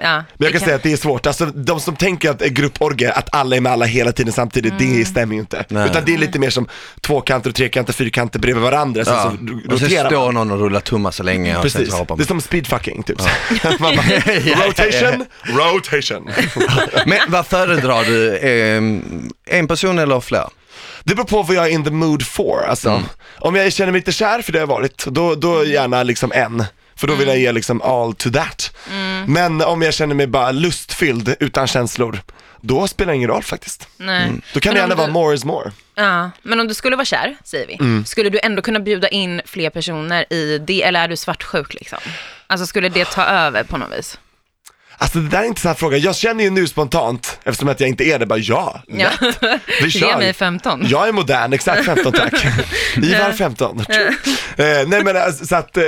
Speaker 3: eh, ja.
Speaker 1: Men jag
Speaker 3: det
Speaker 1: kan säga att det är svårt, alltså de som tänker att eh, grupporger, att alla är med alla hela tiden samtidigt,
Speaker 3: Mm.
Speaker 1: det stämmer ju inte.
Speaker 2: Nej.
Speaker 1: Utan det är lite mer som tvåkanter och trekanter, fyrkanter bredvid varandra, sen
Speaker 2: Ja.
Speaker 1: så
Speaker 2: Och sen
Speaker 1: Alltså, roterar man.
Speaker 2: står någon och rullar tummar så länge och sen
Speaker 1: Precis,
Speaker 2: så hoppar
Speaker 1: det är
Speaker 2: man.
Speaker 1: som speedfucking typ. Man bara, rotation, rotation.
Speaker 2: Men vad föredrar du, ehm, en person eller flera?
Speaker 1: Det beror på vad jag är in the mood for. Alltså,
Speaker 2: Mm.
Speaker 1: Om jag känner mig lite kär, för det har jag varit, då, då gärna liksom en. För då vill
Speaker 3: Mm.
Speaker 1: jag ge liksom all to that. Men om jag känner mig bara lustfylld, utan känslor, då spelar det ingen roll faktiskt.
Speaker 3: Nej.
Speaker 1: Då kan
Speaker 3: Men
Speaker 1: det
Speaker 3: om
Speaker 1: gärna
Speaker 3: du-
Speaker 1: vara more is more.
Speaker 3: Ja, men om du skulle vara kär, säger vi, skulle du ändå kunna bjuda in fler personer i det, eller är du svartsjuk liksom? Alltså skulle det ta över på något vis?
Speaker 1: Alltså det där är en intressant fråga. Jag känner ju nu spontant, eftersom att jag inte är det, bara ja,
Speaker 3: Ja.
Speaker 1: vi
Speaker 3: Ge
Speaker 1: kör.
Speaker 3: mig 15.
Speaker 1: Jag är modern, exakt 15 tack. Ivar 15. eh, nej men alltså, så att, eh,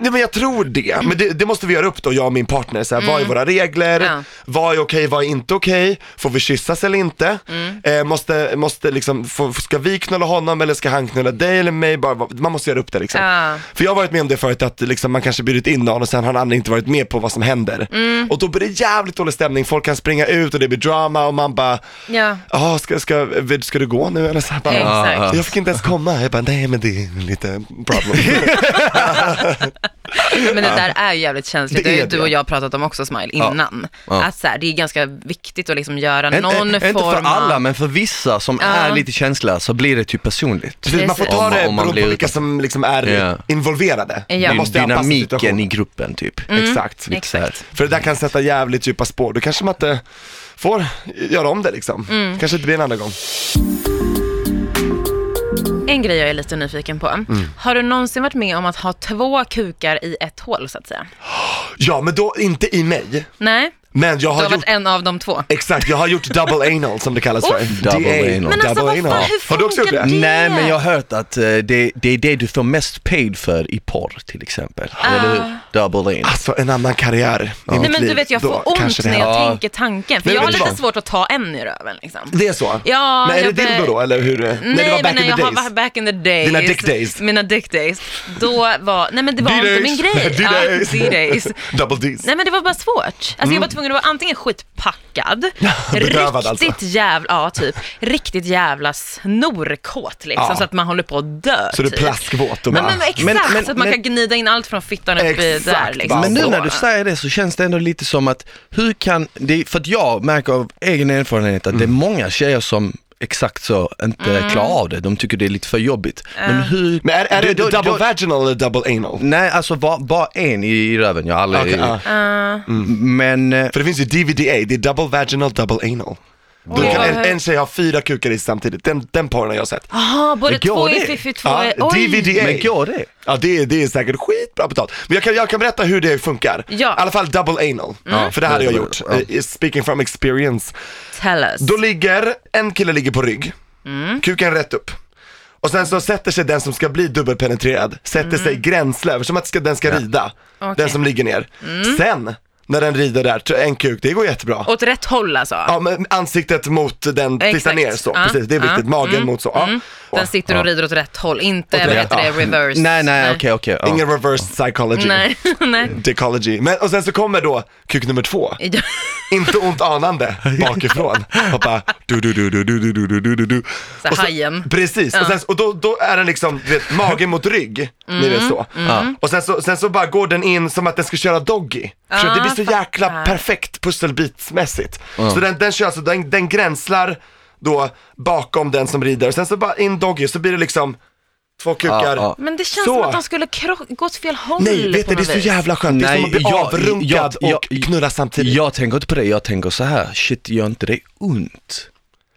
Speaker 1: Nej men jag tror det, men det, det måste vi göra upp då, jag och min partner. Så här, Vad är våra regler?
Speaker 3: Mm. Ja.
Speaker 1: Vad är okej, vad är inte okej? Får vi kyssas eller inte?
Speaker 3: Mm.
Speaker 1: Eh, måste, måste liksom, få, ska vi knulla honom eller ska han knulla dig eller mig? Bara, vad- man måste göra upp det liksom.
Speaker 3: Ja.
Speaker 1: För jag har varit med om det förut att liksom, man kanske bjudit in någon och sen har den andra inte varit med på vad som händer.
Speaker 3: Mm.
Speaker 1: Och då blir det jävligt dålig stämning, folk kan springa ut och det blir drama och man bara,
Speaker 3: Ja,
Speaker 1: jaha ska, ska, ska du gå nu eller så här, bara,
Speaker 3: exakt.
Speaker 1: Jag fick inte ens komma, jag bara nej men det är lite problem.
Speaker 3: Men det där är ju jävligt känsligt.
Speaker 1: Det
Speaker 3: Det har ju
Speaker 1: är
Speaker 3: du
Speaker 1: det.
Speaker 3: och jag pratat om också Smile innan.
Speaker 2: Ja.
Speaker 3: Att så här, det är ganska viktigt att liksom göra
Speaker 2: En,
Speaker 3: någon
Speaker 2: en, inte
Speaker 3: form
Speaker 2: för alla
Speaker 3: av...
Speaker 2: men för vissa som
Speaker 3: Ja.
Speaker 2: är lite känsliga så blir det typ personligt.
Speaker 1: Precis, man får ta
Speaker 2: Om-
Speaker 1: det
Speaker 2: om man
Speaker 1: beroende
Speaker 2: blir
Speaker 1: på vilka
Speaker 2: utan-
Speaker 1: som liksom är
Speaker 2: Ja.
Speaker 1: involverade.
Speaker 3: Ja.
Speaker 1: Man måste ju anpassa
Speaker 2: Dynamiken
Speaker 1: situationen.
Speaker 2: i gruppen typ.
Speaker 1: Exakt.
Speaker 2: Lite så här.
Speaker 3: Mm, Exakt.
Speaker 1: För det där kan sätta jävligt djupa spår. Då kanske man inte får göra om det liksom.
Speaker 3: Mm.
Speaker 1: Kanske inte blir en andra gång.
Speaker 3: En grej jag är lite nyfiken på.
Speaker 1: Mm.
Speaker 3: Har du någonsin varit med om att ha två kukar i ett hål så att säga?
Speaker 1: Ja, men då inte i mig.
Speaker 3: Nej,
Speaker 1: Men jag
Speaker 3: du
Speaker 1: har,
Speaker 3: har
Speaker 1: gjort,
Speaker 3: varit en av de två.
Speaker 1: exakt, jag har gjort double anal som det kallas för.
Speaker 2: Double
Speaker 1: DA.
Speaker 2: anal.
Speaker 3: Men alltså vad fan, hur
Speaker 1: Har du också gjort
Speaker 3: funkar
Speaker 1: det?
Speaker 3: det?
Speaker 2: Nej men jag har hört att eh, det, det är det du får mest paid för i porr till exempel.
Speaker 3: Ah.
Speaker 2: Eller hur? Double in.
Speaker 1: Alltså en annan karriär i
Speaker 3: Nej
Speaker 1: mitt
Speaker 3: men
Speaker 1: liv.
Speaker 3: du vet jag
Speaker 1: Då
Speaker 3: får ont
Speaker 1: kanske det
Speaker 3: när jag
Speaker 1: händer.
Speaker 2: Ja.
Speaker 3: tänker tanken. För
Speaker 1: Men
Speaker 3: jag har
Speaker 1: vet du
Speaker 3: lite
Speaker 1: vad?
Speaker 3: svårt att ta en i röven liksom.
Speaker 1: Det är så?
Speaker 3: Ja,
Speaker 1: men är det
Speaker 3: jag börjar-
Speaker 1: dildo då eller hur? Nej,
Speaker 3: Nej,
Speaker 1: det var back
Speaker 3: men
Speaker 1: in
Speaker 3: när
Speaker 1: the
Speaker 3: jag
Speaker 1: days.
Speaker 3: var back in the days.
Speaker 1: Dina dick days.
Speaker 3: Mina dick days. Då var, nej men det var inte min grej.
Speaker 1: D-days.
Speaker 3: Ja, D-days.
Speaker 1: Double D's.
Speaker 3: Nej men det var bara svårt. Alltså jag var tvungen att vara antingen skitpackad,
Speaker 1: Mm. Bedrövad alltså.
Speaker 3: riktigt jävla, ja typ, riktigt jävla snorkåt liksom
Speaker 1: Ja.
Speaker 3: så att man håller på att dö.
Speaker 1: Så du är
Speaker 3: typ.
Speaker 1: plaskvåt och
Speaker 3: Men,
Speaker 1: bara-
Speaker 3: men exakt,
Speaker 2: Men- men-
Speaker 3: så att man
Speaker 2: men-
Speaker 3: kan gnida in allt från fittan upp i
Speaker 1: Exakt,
Speaker 3: där liksom.
Speaker 1: bara
Speaker 2: Men nu
Speaker 3: Så.
Speaker 2: när du säger det så känns det ändå lite som att hur kan, det, för att jag märker av egen erfarenhet att det
Speaker 1: Mm.
Speaker 2: är många tjejer som exakt så inte
Speaker 3: Mm.
Speaker 2: klarar av det. De tycker det är lite för jobbigt. Men hur...
Speaker 1: Men är, är det
Speaker 2: då- då-
Speaker 1: double
Speaker 2: då-
Speaker 1: vaginal eller double anal?
Speaker 2: Nej, alltså bara, bara en i, i röven. Jag har aldrig...
Speaker 1: Okej, ja.
Speaker 2: Men... eh,
Speaker 1: För det finns ju DVDA, det är double vaginal, double anal. Då
Speaker 3: Oj,
Speaker 1: kan
Speaker 3: vad
Speaker 1: en,
Speaker 3: högt.
Speaker 1: en tjej ha fyra kukar i samtidigt, den, den porren har jag sett.
Speaker 3: Jaha, både
Speaker 2: Men går
Speaker 3: två är
Speaker 2: det?
Speaker 3: fiffi, två
Speaker 1: Ja,
Speaker 3: är... Oj!
Speaker 1: DVDA.
Speaker 2: Men går det?
Speaker 1: Ja det, är- det är säkert skitbra betalt. Men jag kan, jag kan berätta hur det funkar.
Speaker 3: Ja.
Speaker 1: I alla fall double anal.
Speaker 2: Mm.
Speaker 1: För det här har jag gjort.
Speaker 2: Ja.
Speaker 1: Eh, Speaking from experience.
Speaker 3: Tell us.
Speaker 1: Då ligger, en kille ligger på rygg,
Speaker 3: Mm.
Speaker 1: kuken rätt upp. Och sen så sätter sig den som ska bli dubbelpenetrerad, sätter sig
Speaker 3: Mm.
Speaker 1: gränslöver, som att ska, den ska rida. Den som ligger ner.
Speaker 3: Mm.
Speaker 1: Sen, när den rider där, t- en kuk, det går jättebra.
Speaker 3: Åt rätt håll alltså.
Speaker 1: Ja men ansiktet mot den,
Speaker 3: Exakt.
Speaker 1: titta ner så,
Speaker 3: Ja, Mm.
Speaker 1: precis det är viktigt,
Speaker 3: ja,
Speaker 1: magen mot så. Ja.
Speaker 3: Den sitter och rider åt rätt håll, inte vad
Speaker 1: rätt-
Speaker 3: heter det, reverse.
Speaker 2: Nej, nej, okej, okej. ja.
Speaker 1: Ingen reverse psychology.
Speaker 3: Nej, nej.
Speaker 1: Decology. Men, och sen så kommer då kuk nummer två,
Speaker 3: Ja.
Speaker 1: inte ont anande, bakifrån. Och bara du du du du du du du du du du
Speaker 3: Så
Speaker 1: Och
Speaker 3: hajen.
Speaker 1: Precis, och, sen, och då, då är den liksom, du vet, magen mot rygg, ni vet så. Och sen så, sen så bara går den in som att den ska köra doggy. Förstår du? det blir så
Speaker 3: fattar.
Speaker 1: jäkla perfekt pusselbitsmässigt. Så den, den kör alltså, den, den gränslar då bakom den som rider, och sen så bara in doggy, så blir det liksom två kukar.
Speaker 2: ja.
Speaker 3: Men det känns
Speaker 1: Så.
Speaker 3: som att de skulle kro- gå åt fel håll
Speaker 1: Nej, vet du, det
Speaker 3: på
Speaker 1: är
Speaker 3: något
Speaker 1: så
Speaker 3: vis.
Speaker 1: jävla skönt. Det är som att bli
Speaker 2: jag-
Speaker 1: avrunkad
Speaker 2: jag-
Speaker 1: och
Speaker 2: jag-
Speaker 1: knulla samtidigt.
Speaker 2: Jag tänker inte på det, jag tänker så här, shit gör inte det ont?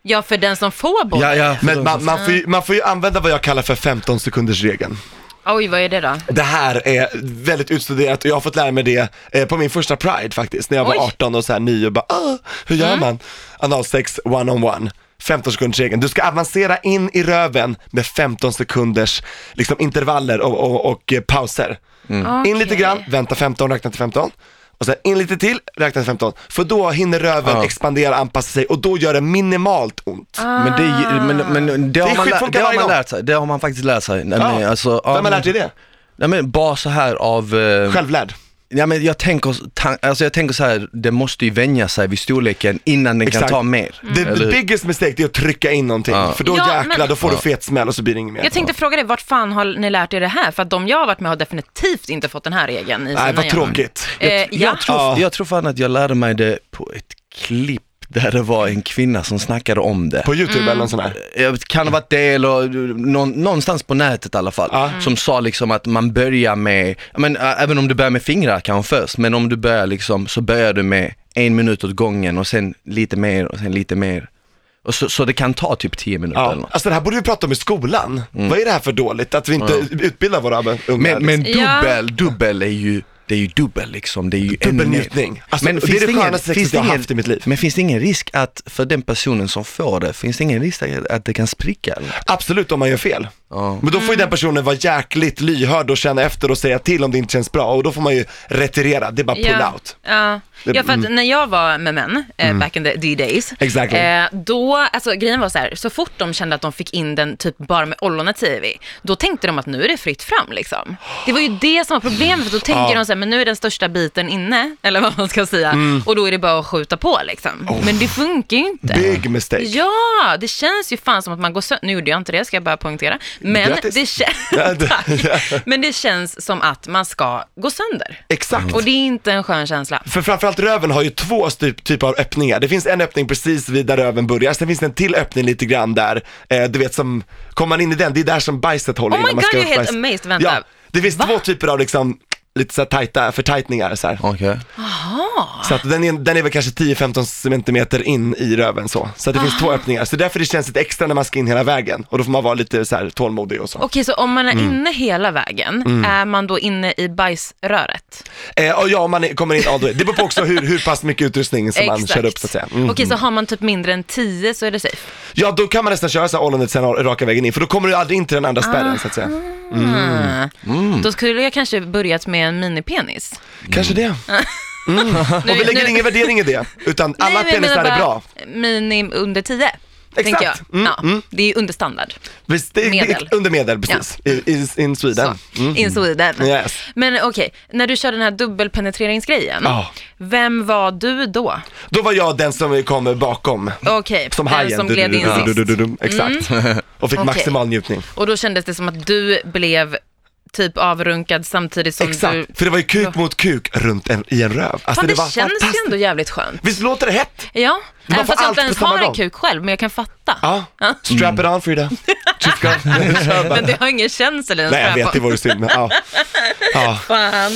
Speaker 3: Ja, för den som får båda.
Speaker 2: Ja, ja,
Speaker 1: Men man, man, får ju, man får ju använda vad jag kallar för 15 sekunders regeln.
Speaker 3: Oj, vad är det då?
Speaker 1: Det här är väldigt utstuderat och jag har fått lära mig det eh, på min första Pride faktiskt, när jag var
Speaker 3: Oj. Mm.
Speaker 1: 18 och så här ny och bara ah, hur gör man? Analsex one on one. 15 sekunders regeln. Du ska avancera in i röven med 15 sekunders liksom, intervaller och, och, och eh, pauser. In lite
Speaker 3: Mm. Okej.
Speaker 1: grann, vänta 15, räkna till 15. Och sen in lite till, räkna till 15. För då hinner röven
Speaker 2: Ja.
Speaker 1: expandera, anpassa sig och då gör det minimalt ont.
Speaker 2: Men det, men, men det, har, man, lä-
Speaker 1: skitfunkar
Speaker 2: det har
Speaker 1: varje
Speaker 2: man
Speaker 1: gång.
Speaker 2: lärt sig, det har man faktiskt lärt sig. Nej,
Speaker 1: Ja.
Speaker 2: men, alltså,
Speaker 1: Vem
Speaker 2: ja,
Speaker 1: har
Speaker 2: men-
Speaker 1: lärt dig det?
Speaker 2: Nej men bara så här av, eh,
Speaker 1: Självlärd.
Speaker 2: ja, men jag, tänker, tan- alltså, jag tänker så här, det måste ju vänja sig vid storleken innan den
Speaker 1: Exakt.
Speaker 2: kan ta mer.
Speaker 1: The,
Speaker 2: Eller
Speaker 1: the
Speaker 2: hur?
Speaker 1: biggest mistake det är att trycka in någonting,
Speaker 2: Ja.
Speaker 1: för då
Speaker 3: Ja,
Speaker 1: jäklar,
Speaker 3: men-
Speaker 1: då får du fet smäll och så blir det inget mer.
Speaker 3: Jag tänkte fråga dig, vart fan har ni lärt er det här? För att de jag har varit med har definitivt inte fått den här regeln i
Speaker 1: Nej,
Speaker 3: sina
Speaker 1: vad
Speaker 3: hjärnor.
Speaker 1: tråkigt.
Speaker 3: Eh, ja.
Speaker 2: Jag tror,
Speaker 1: Ja.
Speaker 2: jag tror fan att jag lärde mig det på ett klipp där det var en kvinna som snackade om det.
Speaker 1: På YouTube
Speaker 3: mm.
Speaker 1: eller en sån här.
Speaker 2: jag vet, Eh, kan ha varit det eller eh, någon, någonstans på nätet i alla fall,
Speaker 1: Ja. Mm.
Speaker 2: som sa liksom att man börjar med, ja, men, ä- även om du börjar med fingrar kanske först, men om du börjar liksom, så börjar du med en minut åt gången och sen lite mer och sen lite mer. Och så, så det kan ta typ tio minuter eller
Speaker 1: Ja.
Speaker 2: något. Mm.
Speaker 1: Alltså det här borde vi prata om i skolan. Vad är det här för dåligt? Att vi inte utbildar våra unga. liksom.
Speaker 2: Men, men
Speaker 3: Ja.
Speaker 2: dubbel, dubbel är ju, det är ju dubbel liksom, det är ju ännu mer.
Speaker 1: Dubbelnjutning. Alltså, det är det skönaste sexet jag har haft i mitt liv.
Speaker 2: Men finns det ingen risk att, för den personen som får det, finns det ingen risk att, att det kan spricka eller?
Speaker 1: Absolut om man gör fel.
Speaker 2: Ja.
Speaker 1: Men då får ju
Speaker 3: Mm.
Speaker 1: den personen vara jäkligt lyhörd och känna efter och säga till om det inte känns bra och då får man ju retirera, det är bara pull
Speaker 3: ja,
Speaker 1: out.
Speaker 3: Ja.
Speaker 1: Det- mm.
Speaker 3: ja, för att när jag var med män eh, back in the, the days,
Speaker 1: Exactly.
Speaker 3: eh, då, alltså grejen var så här, så fort de kände att de fick in den typ bara med ollonet i vi, då tänkte de att nu är det fritt fram liksom. Det var ju det som var problemet, för då tänker
Speaker 1: Ja.
Speaker 3: de så här, men nu är den största biten inne, eller vad man ska säga,
Speaker 1: Mm.
Speaker 3: och då är det bara att skjuta på liksom.
Speaker 1: Oh.
Speaker 3: Men det funkar ju inte.
Speaker 1: Big mistake.
Speaker 3: Ja, det känns ju fan som att man går sönder. Nu gjorde jag inte det, ska jag bara poängtera. Men
Speaker 1: Grattis.
Speaker 3: det, kän-
Speaker 1: Ja, det-
Speaker 3: Tack.
Speaker 1: ja.
Speaker 3: Men det känns som att man ska gå sönder.
Speaker 1: Exakt.
Speaker 3: Och det är inte en skön känsla.
Speaker 1: För framförallt röven har ju två typ, typer av öppningar. Det finns en öppning precis vid där röven börjar, sen finns det en till öppning lite grann där, eh, du vet som, kommer man in i den, det är där som bajset håller
Speaker 3: Oh
Speaker 1: i
Speaker 3: my
Speaker 1: när man
Speaker 3: God,
Speaker 1: ska
Speaker 3: jag är
Speaker 1: upp
Speaker 3: helt
Speaker 1: bajs.
Speaker 3: amazed. Vänta.
Speaker 1: Ja, det finns
Speaker 3: Va?
Speaker 1: två typer av liksom, lite så här tajta förtajtningar så här.
Speaker 2: Okej.
Speaker 1: Så att den är, den är väl kanske 10-15 centimeter in i röven så. Så att det finns
Speaker 3: Ah.
Speaker 1: två öppningar. Så därför det känns lite extra när man ska in hela vägen. Och då får man vara lite så här tålmodig och så.
Speaker 3: Okej, så om man
Speaker 1: Mm.
Speaker 3: är inne hela vägen, är man då inne i bajsröret?
Speaker 1: Eh, och ja, om man är, kommer in all the way. Det beror på också hur, hur pass mycket utrustning som man kör upp så att säga. Mm.
Speaker 3: Okej, så har man typ mindre än 10 så är det safe.
Speaker 1: Ja, då kan man nästan köra så här ollonet sen raka vägen in. För då kommer du aldrig in till den andra spärren så att säga. Mm.
Speaker 3: Ah. Då skulle jag kanske börjat med en minipenis.
Speaker 1: Kanske det.
Speaker 3: Nu-
Speaker 1: Och vi lägger
Speaker 3: nu-
Speaker 1: ingen värdering i det. Utan
Speaker 3: Nej,
Speaker 1: alla
Speaker 3: men jag menar
Speaker 1: penisar är
Speaker 3: bara
Speaker 1: bra.
Speaker 3: Minim under 10. tänker jag.
Speaker 1: Mm,
Speaker 3: ja, Det är ju understandard.
Speaker 1: Visst, det,
Speaker 3: Medel.
Speaker 1: Det, under medel, precis. I, i, in Sweden.
Speaker 3: Så, in Sweden.
Speaker 1: Yes.
Speaker 3: Men okej, när du kör den här dubbelpenetreringsgrejen,
Speaker 1: Ja.
Speaker 3: vem var du då?
Speaker 1: Då var jag den som kom bakom.
Speaker 3: Okej,
Speaker 1: Som
Speaker 3: den
Speaker 1: hajen.
Speaker 3: som gled in
Speaker 1: Du- du- du-
Speaker 3: sist.
Speaker 1: du-
Speaker 3: Mm.
Speaker 1: du- du- Exakt. Och fick
Speaker 3: Okej.
Speaker 1: maximal njutning.
Speaker 3: Och då kändes det som att du blev typ avrunkad samtidigt som du...
Speaker 1: Exakt. För det var ju kuk mot kuk runt en, i en röv. Alltså
Speaker 3: Fan, det,
Speaker 1: var
Speaker 3: känns ju
Speaker 1: fantastiskt.
Speaker 3: ändå jävligt skönt.
Speaker 1: Visst låter det hett?
Speaker 3: Ja,
Speaker 1: Man
Speaker 3: även
Speaker 1: får
Speaker 3: fast jag
Speaker 1: allt
Speaker 3: inte ens
Speaker 1: på samma
Speaker 3: har en
Speaker 1: gång.
Speaker 3: kuk själv, men jag kan fatta.
Speaker 1: Ja. Strap it on Frida. Tjuska. Kör bara.
Speaker 3: Men det har ingen känsel i ens
Speaker 1: Nej jag
Speaker 3: röv.
Speaker 1: vet, det vore synd. men Ja. Ja.
Speaker 3: Fan.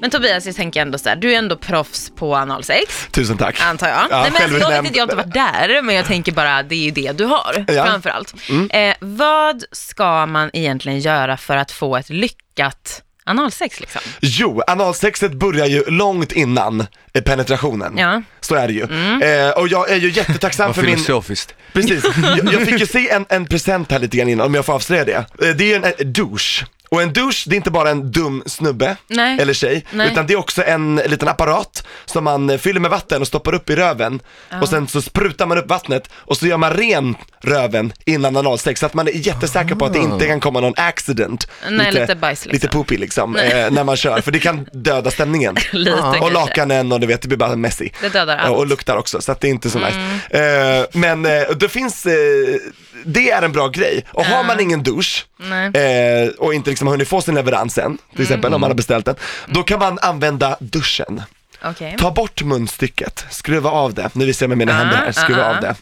Speaker 3: Men Tobias, jag tänker ändå så här, du är ändå proffs på analsex,
Speaker 1: Tusen tack.
Speaker 3: antar jag.
Speaker 1: Ja,
Speaker 3: Nej, men alltså, jag vet
Speaker 1: självutnämnd.
Speaker 3: inte, jag har inte varit där, men jag tänker bara, det är ju det du har,
Speaker 1: Ja. Mm.
Speaker 3: framförallt. Eh, vad ska man egentligen göra för att få ett lyckat analsex liksom?
Speaker 1: Jo, analsexet börjar ju långt innan eh, penetrationen.
Speaker 3: Ja.
Speaker 1: Så är det ju. Eh, och jag är ju jättetacksam
Speaker 2: Vad
Speaker 1: för min...
Speaker 2: filosofiskt.
Speaker 1: Precis, jag, jag fick ju se en, en present här lite grann innan, om jag får avslöja det. Eh, Det är ju en, en douche. Och en douche, det är inte bara en dum snubbe
Speaker 3: Nej.
Speaker 1: eller tjej,
Speaker 3: Nej.
Speaker 1: utan det är också en liten apparat som man eh, fyller med vatten och stoppar upp i röven. Och sen så sprutar man upp vattnet och så gör man ren röven innan analsex, så att man är jättesäker på att det inte kan komma någon accident.
Speaker 3: Nej, lite bajs, liksom.
Speaker 1: Lite poopy liksom, eh, när man kör, för det kan döda stämningen.
Speaker 3: Lite
Speaker 1: Och
Speaker 3: kanske.
Speaker 1: lakanen och du vet, det blir bara messy.
Speaker 3: Det dödar allt.
Speaker 1: Ja, Och luktar också, så att det är inte så nice.
Speaker 3: Mm.
Speaker 1: Eh, men eh, det finns, eh, det är en bra grej. Och har man ingen dusch
Speaker 3: Nej. Mm.
Speaker 1: eh, och inte liksom hunnit få sin leverans än, till exempel om man har beställt den, då kan man använda duschen.
Speaker 3: Okej.
Speaker 1: Ta bort munstycket, skruva av det. Nu visar jag med mina händer här, skruva
Speaker 3: ah, Mm.
Speaker 1: av det.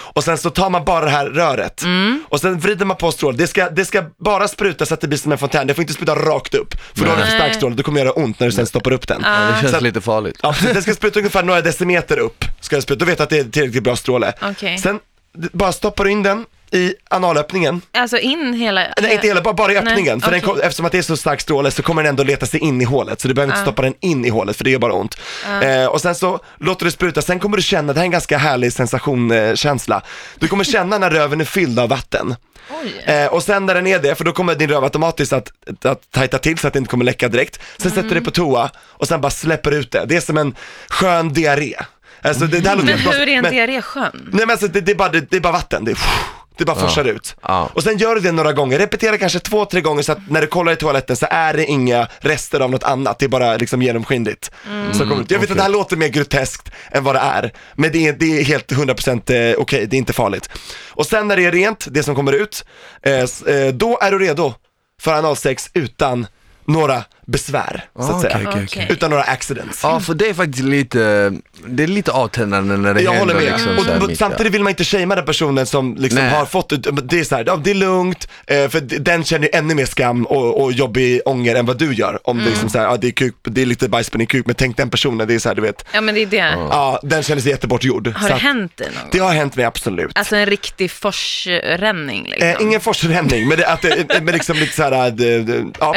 Speaker 1: Och sen så tar man bara det här röret och sen vrider man på strålen. Det ska, det ska bara spruta så att det blir som en fontän, det får inte spruta rakt upp. För då har du för stark stråle, då kommer göra ont när du sen stoppar upp
Speaker 3: Ah.
Speaker 1: den.
Speaker 2: Ja, det
Speaker 1: Ah. Så
Speaker 2: känns
Speaker 1: att-
Speaker 2: lite farligt.
Speaker 1: Ja, precis. Den ska spruta ungefär några decimeter upp. Ska den spruta. Då vet du att det är tillräckligt bra stråle.
Speaker 3: Okej.
Speaker 1: Sen d- bara stoppar du in den i analöppningen.
Speaker 3: Alltså in hela...
Speaker 1: Nej, inte hela, bara, bara i öppningen. för den
Speaker 3: okej.
Speaker 1: kom, eftersom att det är så stark stråle så kommer den ändå leta sig in i hålet. Så du behöver inte stoppa den in i hålet för det gör bara ont. Eh, och sen så låter du spruta, sen kommer du känna, det här är en ganska härlig sensationkänsla. Eh, känsla. du kommer känna när röven är fylld av vatten.
Speaker 3: Oj.
Speaker 1: Eh, och sen när den är det, för då kommer din röv automatiskt att, att tajta till så att det inte kommer läcka direkt. Sen sätter du
Speaker 3: Mm.
Speaker 1: det på toa och sen bara släpper ut det. Det är som en skön diarré. Alltså, det, det här låter
Speaker 3: Men
Speaker 1: jättebra,
Speaker 3: hur är en
Speaker 1: men-
Speaker 3: diarré skön?
Speaker 1: Nej men alltså det, det, är bara, det, det är bara vatten, det, är- det bara forsar ut.
Speaker 2: Mm. Ja.
Speaker 1: Och sen gör du det några gånger, repetera kanske två, tre gånger så att när du kollar i toaletten så är det inga rester av något annat, det är bara liksom genomskinligt.
Speaker 2: Mm.
Speaker 1: som kommer ut. Jag vet att det här låter mer groteskt än vad det är, men det är, det är helt 100% eh, okej, det är inte farligt. Och sen när det är rent, det som kommer ut, eh, s- eh, då är du redo för analsex utan några besvär, så att
Speaker 2: Ah, Okej,
Speaker 1: säga.
Speaker 2: okej,
Speaker 3: Okej.
Speaker 2: okej.
Speaker 1: Utan några accidents.
Speaker 2: Ja, för det är faktiskt lite, det är lite avtändande när det
Speaker 1: Jag
Speaker 2: händer.
Speaker 1: håller med.
Speaker 2: Liksom, så här
Speaker 1: och, och
Speaker 2: mitt,
Speaker 1: samtidigt vill man inte shamea den personen som liksom
Speaker 2: Nej.
Speaker 1: har fått, det är så här, ja, det är lugnt, eh, för d- den känner ju ännu mer skam och, och jobbig ånger än vad du gör. Om det är liksom
Speaker 2: Mm.
Speaker 1: så här, ja, det, är kuk, det är lite bajs på din kuk, men tänk den personen, det är så här, du vet,
Speaker 3: Ja men det är det.
Speaker 1: ja, den känner sig jättebortgjord.
Speaker 3: Har
Speaker 1: så
Speaker 3: det
Speaker 1: att-
Speaker 3: hänt dig någon gång?
Speaker 1: Det har hänt mig absolut.
Speaker 3: Alltså en riktig forsränning liksom.
Speaker 1: Eh, ingen forsränning, men det, att, det- men liksom lite såhär, ja,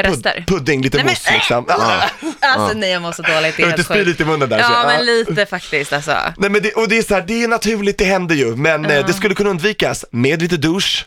Speaker 3: Rester.
Speaker 1: pud, pudding, lite
Speaker 3: Nej, men-
Speaker 1: mos liksom. Ja.
Speaker 3: Alltså nej jag mår så dåligt, det
Speaker 1: Jag vill
Speaker 3: är helt
Speaker 1: inte spy
Speaker 3: sjukt.
Speaker 1: lite i munnen där. så
Speaker 3: Ja
Speaker 1: jag- Mm.
Speaker 3: men lite faktiskt alltså.
Speaker 1: Nej men det, och det är så här, det är naturligt, det händer ju, men eh, det skulle kunna undvikas med lite dusch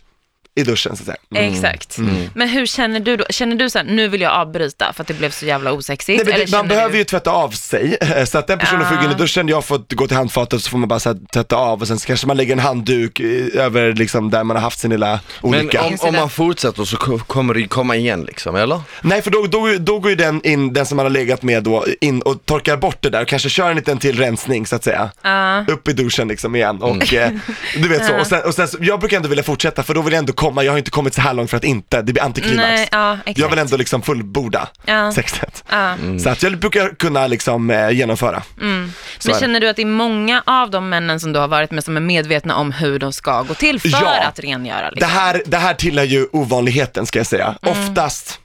Speaker 1: i duschen så att säga. Mm.
Speaker 3: Exakt. Men hur känner du då? Känner du så här, nu vill jag avbryta för att det blev så jävla osexigt?
Speaker 1: Nej, men
Speaker 3: Eller
Speaker 1: det, man
Speaker 3: känner
Speaker 1: behöver
Speaker 3: du- Ah.
Speaker 1: ju tvätta av sig, eh, så att den personen får gå in i duschen, jag får gå till handfatet så får man bara så här, tvätta av och sen så kanske man lägger en handduk eh, över liksom där man har haft sin lilla
Speaker 2: Men
Speaker 1: olycka.
Speaker 2: om, om man fortsätter så ko- kommer det ju komma igen liksom, eller?
Speaker 1: Nej för då, då, då går ju den in, den som man har legat med då, in och torkar bort det där och kanske kör en liten till rensning så att säga.
Speaker 3: Ja.
Speaker 1: Upp i duschen liksom igen och
Speaker 3: Mm.
Speaker 1: eh, du vet så. Och sen, och sen så, jag brukar ändå vilja fortsätta för då vill jag ändå komma, jag har inte kommit så här långt för att inte, det blir antiklimax.
Speaker 3: Nej, ja, exakt.
Speaker 1: jag vill ändå liksom fullborda
Speaker 3: Ja.
Speaker 1: sexet.
Speaker 3: Ja.
Speaker 1: Så att jag brukar kunna liksom eh, genomföra. Så
Speaker 3: Men
Speaker 1: är det.
Speaker 3: känner du att det är många av de männen som du har varit med som är medvetna om hur de ska gå till för
Speaker 1: Ja.
Speaker 3: att rengöra?
Speaker 1: Det
Speaker 3: Liksom? Mm.
Speaker 1: här, det här tillhör ju ovanligheten ska jag säga. Oftast,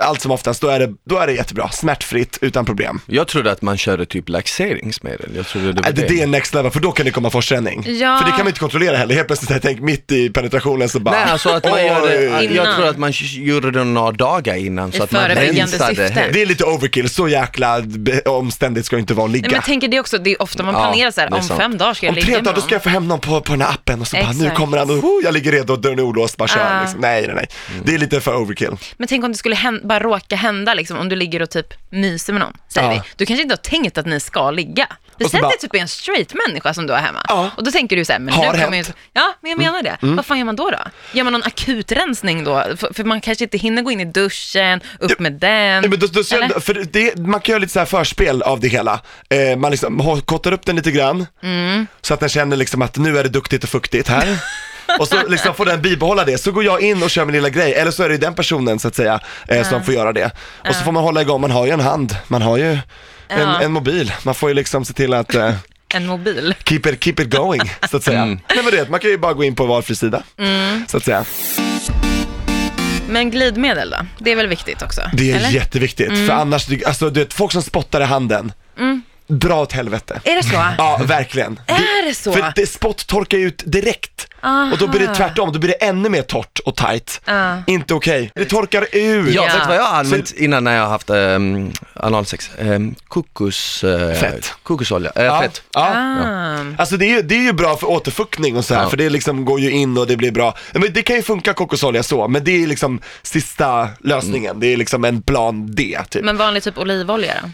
Speaker 1: allt som oftast, då är, det, då är det jättebra. Smärtfritt, utan problem.
Speaker 2: Jag trodde att man körde typ laxeringsmedel, jag trodde det var
Speaker 1: Nej, det, det är next level, för då kan det komma forsränning.
Speaker 3: Ja.
Speaker 1: För det kan man inte kontrollera heller. Helt plötsligt, här, tänk mitt i penetrationen så bara...
Speaker 2: Nej alltså att man
Speaker 1: Oj.
Speaker 2: gör det, jag
Speaker 3: Innan.
Speaker 2: tror att man gjorde det några dagar innan så
Speaker 3: I
Speaker 2: att man
Speaker 3: förebyggande
Speaker 2: rensade
Speaker 3: syfte.
Speaker 2: helt.
Speaker 1: Det är lite overkill, så jäkla be- omständigt ska det inte vara att ligga.
Speaker 3: Nej, men jag tänker det också, det är ofta man
Speaker 2: Ja,
Speaker 3: planerar så här,
Speaker 2: det är
Speaker 3: om
Speaker 2: sant.
Speaker 3: fem dagar ska jag
Speaker 1: Om tre
Speaker 3: ligga
Speaker 1: dagar
Speaker 3: med
Speaker 1: då ska jag få hem någon på, på den här appen och så bara, nu
Speaker 3: Exakt.
Speaker 1: kommer han och oh, jag ligger redo, dörren är olåst, bara kör.
Speaker 3: Ah.
Speaker 1: Liksom. Nej, nej, nej.
Speaker 2: Mm.
Speaker 1: Det är lite för overkill.
Speaker 3: Men tänk om det skulle hän- bara råka hända, liksom, om du ligger och typ myser med någon, säger
Speaker 1: Ja.
Speaker 3: vi. Du kanske inte har tänkt att ni ska ligga. Vi
Speaker 1: Och så
Speaker 3: säger
Speaker 1: bara-
Speaker 3: att det typ är en straight människa som du har hemma.
Speaker 1: Ja.
Speaker 3: Och då tänker du så här, men
Speaker 1: Har
Speaker 3: nu kommer
Speaker 1: hänt. Mm.
Speaker 3: ju... Ja, men jag menar det. Vad fan gör man då då? Gör man någon akut rensning då? För, för man kanske inte hinner gå in i duschen, upp med den.
Speaker 1: Nej, men då, då,
Speaker 3: Eller?
Speaker 1: så, för det, man kan göra lite så här förspel av det hela. Eh, man liksom hå- kottar upp den lite grann,
Speaker 3: Mm.
Speaker 1: så att den känner liksom att nu är det duktigt och fuktigt här. Och så liksom får den bibehålla det, så går jag in och kör min lilla grej, eller så är det den personen så att säga eh, som får göra det. Och så får man hålla igång, man har ju en hand, man har ju en,
Speaker 3: Ja.
Speaker 1: en mobil, man får ju liksom se till att eh,
Speaker 3: En mobil.
Speaker 1: keep, it, keep it going så att säga. Nej men du vet, man kan ju bara gå in på valfri sida
Speaker 3: Mm.
Speaker 1: så att säga.
Speaker 3: Men glidmedel då? Det är väl viktigt också?
Speaker 1: Det är
Speaker 3: eller? Mm.
Speaker 1: jätteviktigt, för annars, alltså du vet, folk som spottar i handen, dra åt helvete.
Speaker 3: Är det så?
Speaker 1: Ja, verkligen.
Speaker 3: Är det så?
Speaker 1: För det, spott torkar ju ut direkt. Och då blir det tvärtom, då blir det ännu mer torrt och tajt.
Speaker 3: Ah.
Speaker 1: Inte okej. Det torkar ut.
Speaker 3: Ja.
Speaker 2: Ja, vet du vad jag har använt innan när jag har haft um, analsex? Um, kokos, eh,
Speaker 1: Fett.
Speaker 2: Kokosolja, eh,
Speaker 1: Ja.
Speaker 2: fett.
Speaker 1: Ja.
Speaker 3: Ah.
Speaker 1: Alltså det är, ju, det är ju bra för återfuktning och så här,
Speaker 2: Ja.
Speaker 1: för det liksom går ju in och det blir bra. Men det kan ju funka kokosolja så, men det är liksom sista lösningen.
Speaker 2: Mm.
Speaker 1: Det är liksom en plan D typ.
Speaker 3: Men vanlig typ olivolja då?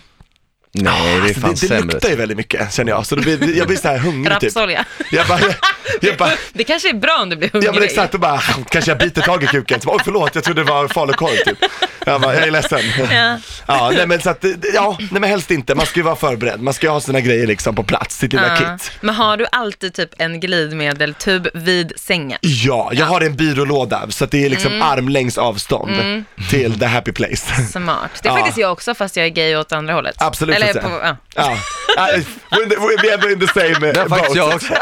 Speaker 2: Nej, det är fan
Speaker 1: Alltså, det, det
Speaker 2: sämre.
Speaker 1: luktar ju väldigt mycket känner jag, så då blir, jag blir så här hungrig typ.
Speaker 3: Rapsolja?
Speaker 1: Jag bara, jag, jag bara
Speaker 3: Det kanske är bra om du blir hungrig.
Speaker 1: Ja men exakt, och bara kanske jag biter tag i kuken, så bara, oj förlåt jag trodde det var falukorv typ. Jag bara, jag är ledsen. Ja, nej men så att, eh, ja, nej men helst inte, man ska ju vara förberedd, man ska ju ha sina grejer liksom på plats, sitt lilla
Speaker 3: Ja.
Speaker 1: kit.
Speaker 3: Eh, Men har du alltid typ en glidmedeltub vid sängen?
Speaker 1: Ja, jag har en byrålåda så att det är liksom
Speaker 3: Mm.
Speaker 1: armlängds avstånd till the happy place.
Speaker 3: Smart. Det är
Speaker 1: Ja.
Speaker 3: faktiskt jag också fast jag är gay åt andra hållet.
Speaker 1: Absolut,
Speaker 3: Eller
Speaker 1: så att
Speaker 3: på,
Speaker 1: säga.
Speaker 3: ja.
Speaker 1: Ja, I- we're in the- we're ever in the same eh,
Speaker 2: Det har faktiskt
Speaker 1: boat.
Speaker 2: jag också.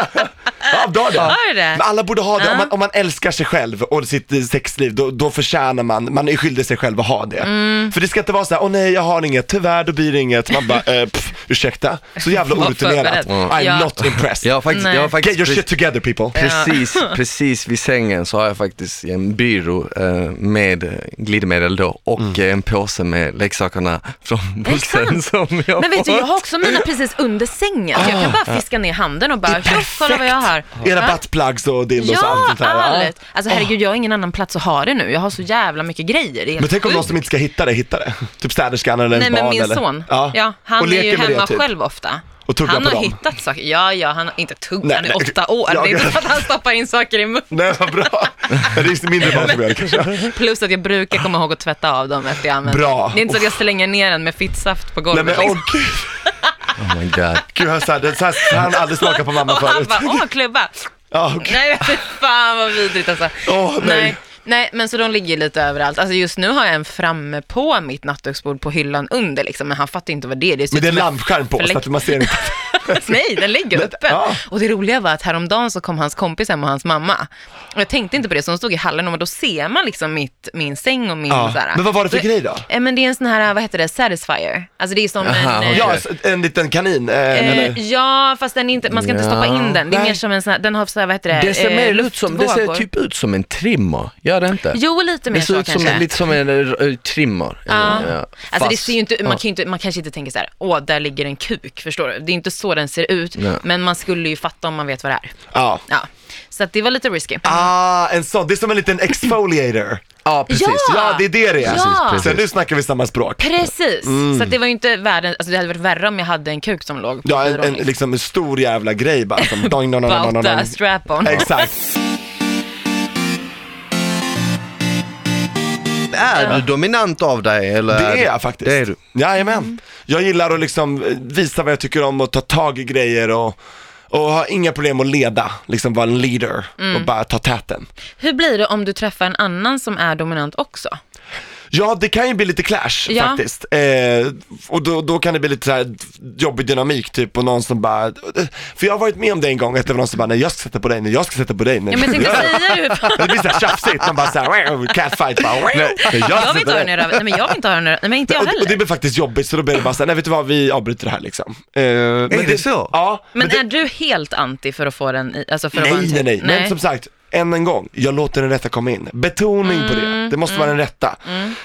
Speaker 1: Ja, du har det.
Speaker 3: Har du det?
Speaker 1: Men alla borde ha det. Om, man, om man älskar sig själv och sitt eh, sexliv, då, då förtjänar man, man är skyldig sig själv att ha det.
Speaker 3: Mm.
Speaker 1: För det ska inte vara så här, åh nej jag har inget, tyvärr då blir det inget. Man bara, eh, pff, ursäkta. Så jävla
Speaker 3: Var
Speaker 1: orutinerat.
Speaker 3: förberedd. Mm.
Speaker 1: I'm
Speaker 3: Ja.
Speaker 1: not impressed.
Speaker 2: Jag har faktiskt,
Speaker 3: Nej.
Speaker 2: jag har faktiskt
Speaker 1: Get your shit together people.
Speaker 2: precis, precis vid sängen så har jag faktiskt en byrå eh, med eh, glidmedel då och
Speaker 3: Mm.
Speaker 2: eh, en påse med leksakerna från bussen som jag
Speaker 3: Men vet
Speaker 2: fått.
Speaker 3: du, jag har också mina precis under sängen. Så jag kan
Speaker 1: Ah.
Speaker 3: bara fiska ner handen och bara, tjoff, kolla vad jag har.
Speaker 1: Era
Speaker 3: Ja.
Speaker 1: buttplugs och dildos och
Speaker 3: Ja,
Speaker 1: allt sånt där. Ja.
Speaker 3: allt. Alltså herregud, jag har ingen annan plats att ha det nu. Jag har så jävla mycket grejer. Det är helt
Speaker 1: Men tänk om någon
Speaker 3: sjukt.
Speaker 1: som inte ska hitta det, hittar det. Typ städerskan eller
Speaker 3: Mm. Nej
Speaker 1: ett barn
Speaker 3: men min
Speaker 1: eller...
Speaker 3: son, ja. han är
Speaker 1: leker
Speaker 3: ju
Speaker 1: med det,
Speaker 3: hemma
Speaker 1: typ.
Speaker 3: själv ofta.
Speaker 1: Och tuggar
Speaker 3: han
Speaker 1: på
Speaker 3: har
Speaker 1: dem.
Speaker 3: hittat saker, ja ja, han har inte tuggat,
Speaker 1: Nej,
Speaker 3: han är
Speaker 1: nej.
Speaker 3: åtta år.
Speaker 1: Jag-
Speaker 3: Det är inte så att han stoppar in saker i munnen.
Speaker 1: Nej vad bra. Det är mindre barn som gör det kanske.
Speaker 3: Plus att jag brukar komma ihåg att tvätta av dem efter jag använt
Speaker 1: Bra.
Speaker 3: dem. Det är inte så att jag slänger ner den med fittsaft på
Speaker 1: Nej
Speaker 3: golvet.
Speaker 1: men åh
Speaker 3: liksom.
Speaker 1: gud.
Speaker 2: Oh my god.
Speaker 3: eh,
Speaker 1: Gud, jag så här, det, så här, så här har han aldrig smakat på mamma
Speaker 3: och han
Speaker 1: förut.
Speaker 3: bara, åh klubba.
Speaker 1: Ja, okej.
Speaker 3: Nej men fan vad vidrigt alltså.
Speaker 1: Åh, nej.
Speaker 3: nej. Nej, men så de ligger ju lite överallt. Alltså just nu har jag en framme på mitt nattduksbord på hyllan under liksom, men han fattar inte vad det är. Det ser
Speaker 1: Men
Speaker 3: ut
Speaker 1: det är
Speaker 3: som en
Speaker 1: lampskärm på så
Speaker 3: fläkt.
Speaker 1: att man ser inte.
Speaker 3: Nej, den ligger uppe.
Speaker 1: ja.
Speaker 3: Och det roliga var att häromdagen så kom hans kompis hem och hans mamma. Och jag tänkte inte på det, så de stod i hallen och då ser man liksom mitt, min säng och min
Speaker 1: Ja.
Speaker 3: så här.
Speaker 1: Men vad var det för
Speaker 3: Så-
Speaker 1: grej då?
Speaker 3: Eh, men det är en sån här, vad heter det, satisfier. Alltså det är som
Speaker 2: Aha,
Speaker 3: en... eh,
Speaker 2: okej.
Speaker 1: Ja, s- en liten kanin. Eh,
Speaker 3: Eh,
Speaker 1: eller,
Speaker 3: ja, fast den är inte, man ska inte
Speaker 2: Ja.
Speaker 3: stoppa in den. Det är
Speaker 1: Nej.
Speaker 3: mer som en sån här, den har så här, vad heter det,
Speaker 2: Det ser
Speaker 3: eh,
Speaker 2: mer ut som, det ser
Speaker 3: luftvågor.
Speaker 2: typ ut som en trimmer, gör det inte?
Speaker 3: Jo, lite mer
Speaker 2: det ser
Speaker 3: så
Speaker 2: ut som,
Speaker 3: kanske.
Speaker 2: en- lite som en eh, trimmer.
Speaker 3: Ja.
Speaker 2: Ja,
Speaker 3: Alltså det
Speaker 2: fast-
Speaker 3: ser ju inte,
Speaker 2: ja.
Speaker 3: man, kan ju inte, man kanske inte tänker så här, åh, där ligger en kuk, förstår du? Det är inte så den ser ut,
Speaker 2: Ja.
Speaker 3: men man skulle ju fatta om man vet vad det är.
Speaker 1: Ja.
Speaker 3: Ja. Så att det var lite risky.
Speaker 1: Ah, en sån. Det är som en liten exfoliator.
Speaker 2: Ja, precis.
Speaker 3: Ja!
Speaker 1: Ja, det är det det är.
Speaker 3: Ah. Ja.
Speaker 1: Så nu snackar vi samma språk.
Speaker 3: Precis, så att det var ju inte världen, alltså det hade varit värre om jag hade en kuk som låg på
Speaker 1: Mm. Ja, en, en,
Speaker 3: byrån.
Speaker 1: liksom en stor jävla grej bara som doing, doing, doing, doing,
Speaker 3: Bauta,
Speaker 1: doing.
Speaker 3: strap-on.
Speaker 1: Exakt.
Speaker 2: Är du dominant av dig eller?
Speaker 1: Det är jag faktiskt.
Speaker 2: Det är du.
Speaker 1: Jajamän. Jag gillar att liksom eh, visa vad jag tycker om och ta tag i grejer och, och ha inga problem att leda, liksom vara en leader
Speaker 3: Mm.
Speaker 1: och bara ta täten.
Speaker 3: Hur blir det om du träffar en annan som är dominant också?
Speaker 1: Ja, det kan ju bli lite clash
Speaker 3: Ja.
Speaker 1: faktiskt. Eh, och då, då kan det bli lite så här jobbig dynamik typ och någon som bara, för jag har varit med om det en gång, att det var någon som bara, nej jag ska sätta på dig, nej jag ska sätta på dig, nej.
Speaker 3: Ja, men jag tänkte säga hur
Speaker 1: Det blir såhär tjafsigt, man bara såhär, catfight bara, nej, nej, jag,
Speaker 3: Jag vill inte ha den i röven. Nej, men jag vill inte ha den i röven. Nej, men inte jag
Speaker 1: och, och det
Speaker 3: heller.
Speaker 1: blir faktiskt jobbigt så då blir det bara såhär, nej vet du vad, vi avbryter det här liksom. Eh, men
Speaker 2: det så?
Speaker 1: Ja.
Speaker 3: Men är du helt anti för att få den i, alltså för att vara
Speaker 1: Nej,
Speaker 3: en
Speaker 1: nej,
Speaker 3: typ?
Speaker 1: nej. Men som sagt, än en gång, jag låter den rätta komma in. Betoning på
Speaker 3: Mm,
Speaker 1: det, det måste vara den rätta.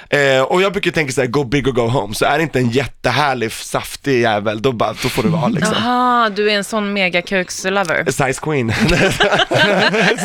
Speaker 1: Eh, och jag brukar tänka så här: go big or go home. Så är det inte en jättehärlig, saftig jävel, då, bara, då får det vara liksom.
Speaker 3: Jaha, du är en sån megakuks-lover.
Speaker 1: A Size queen,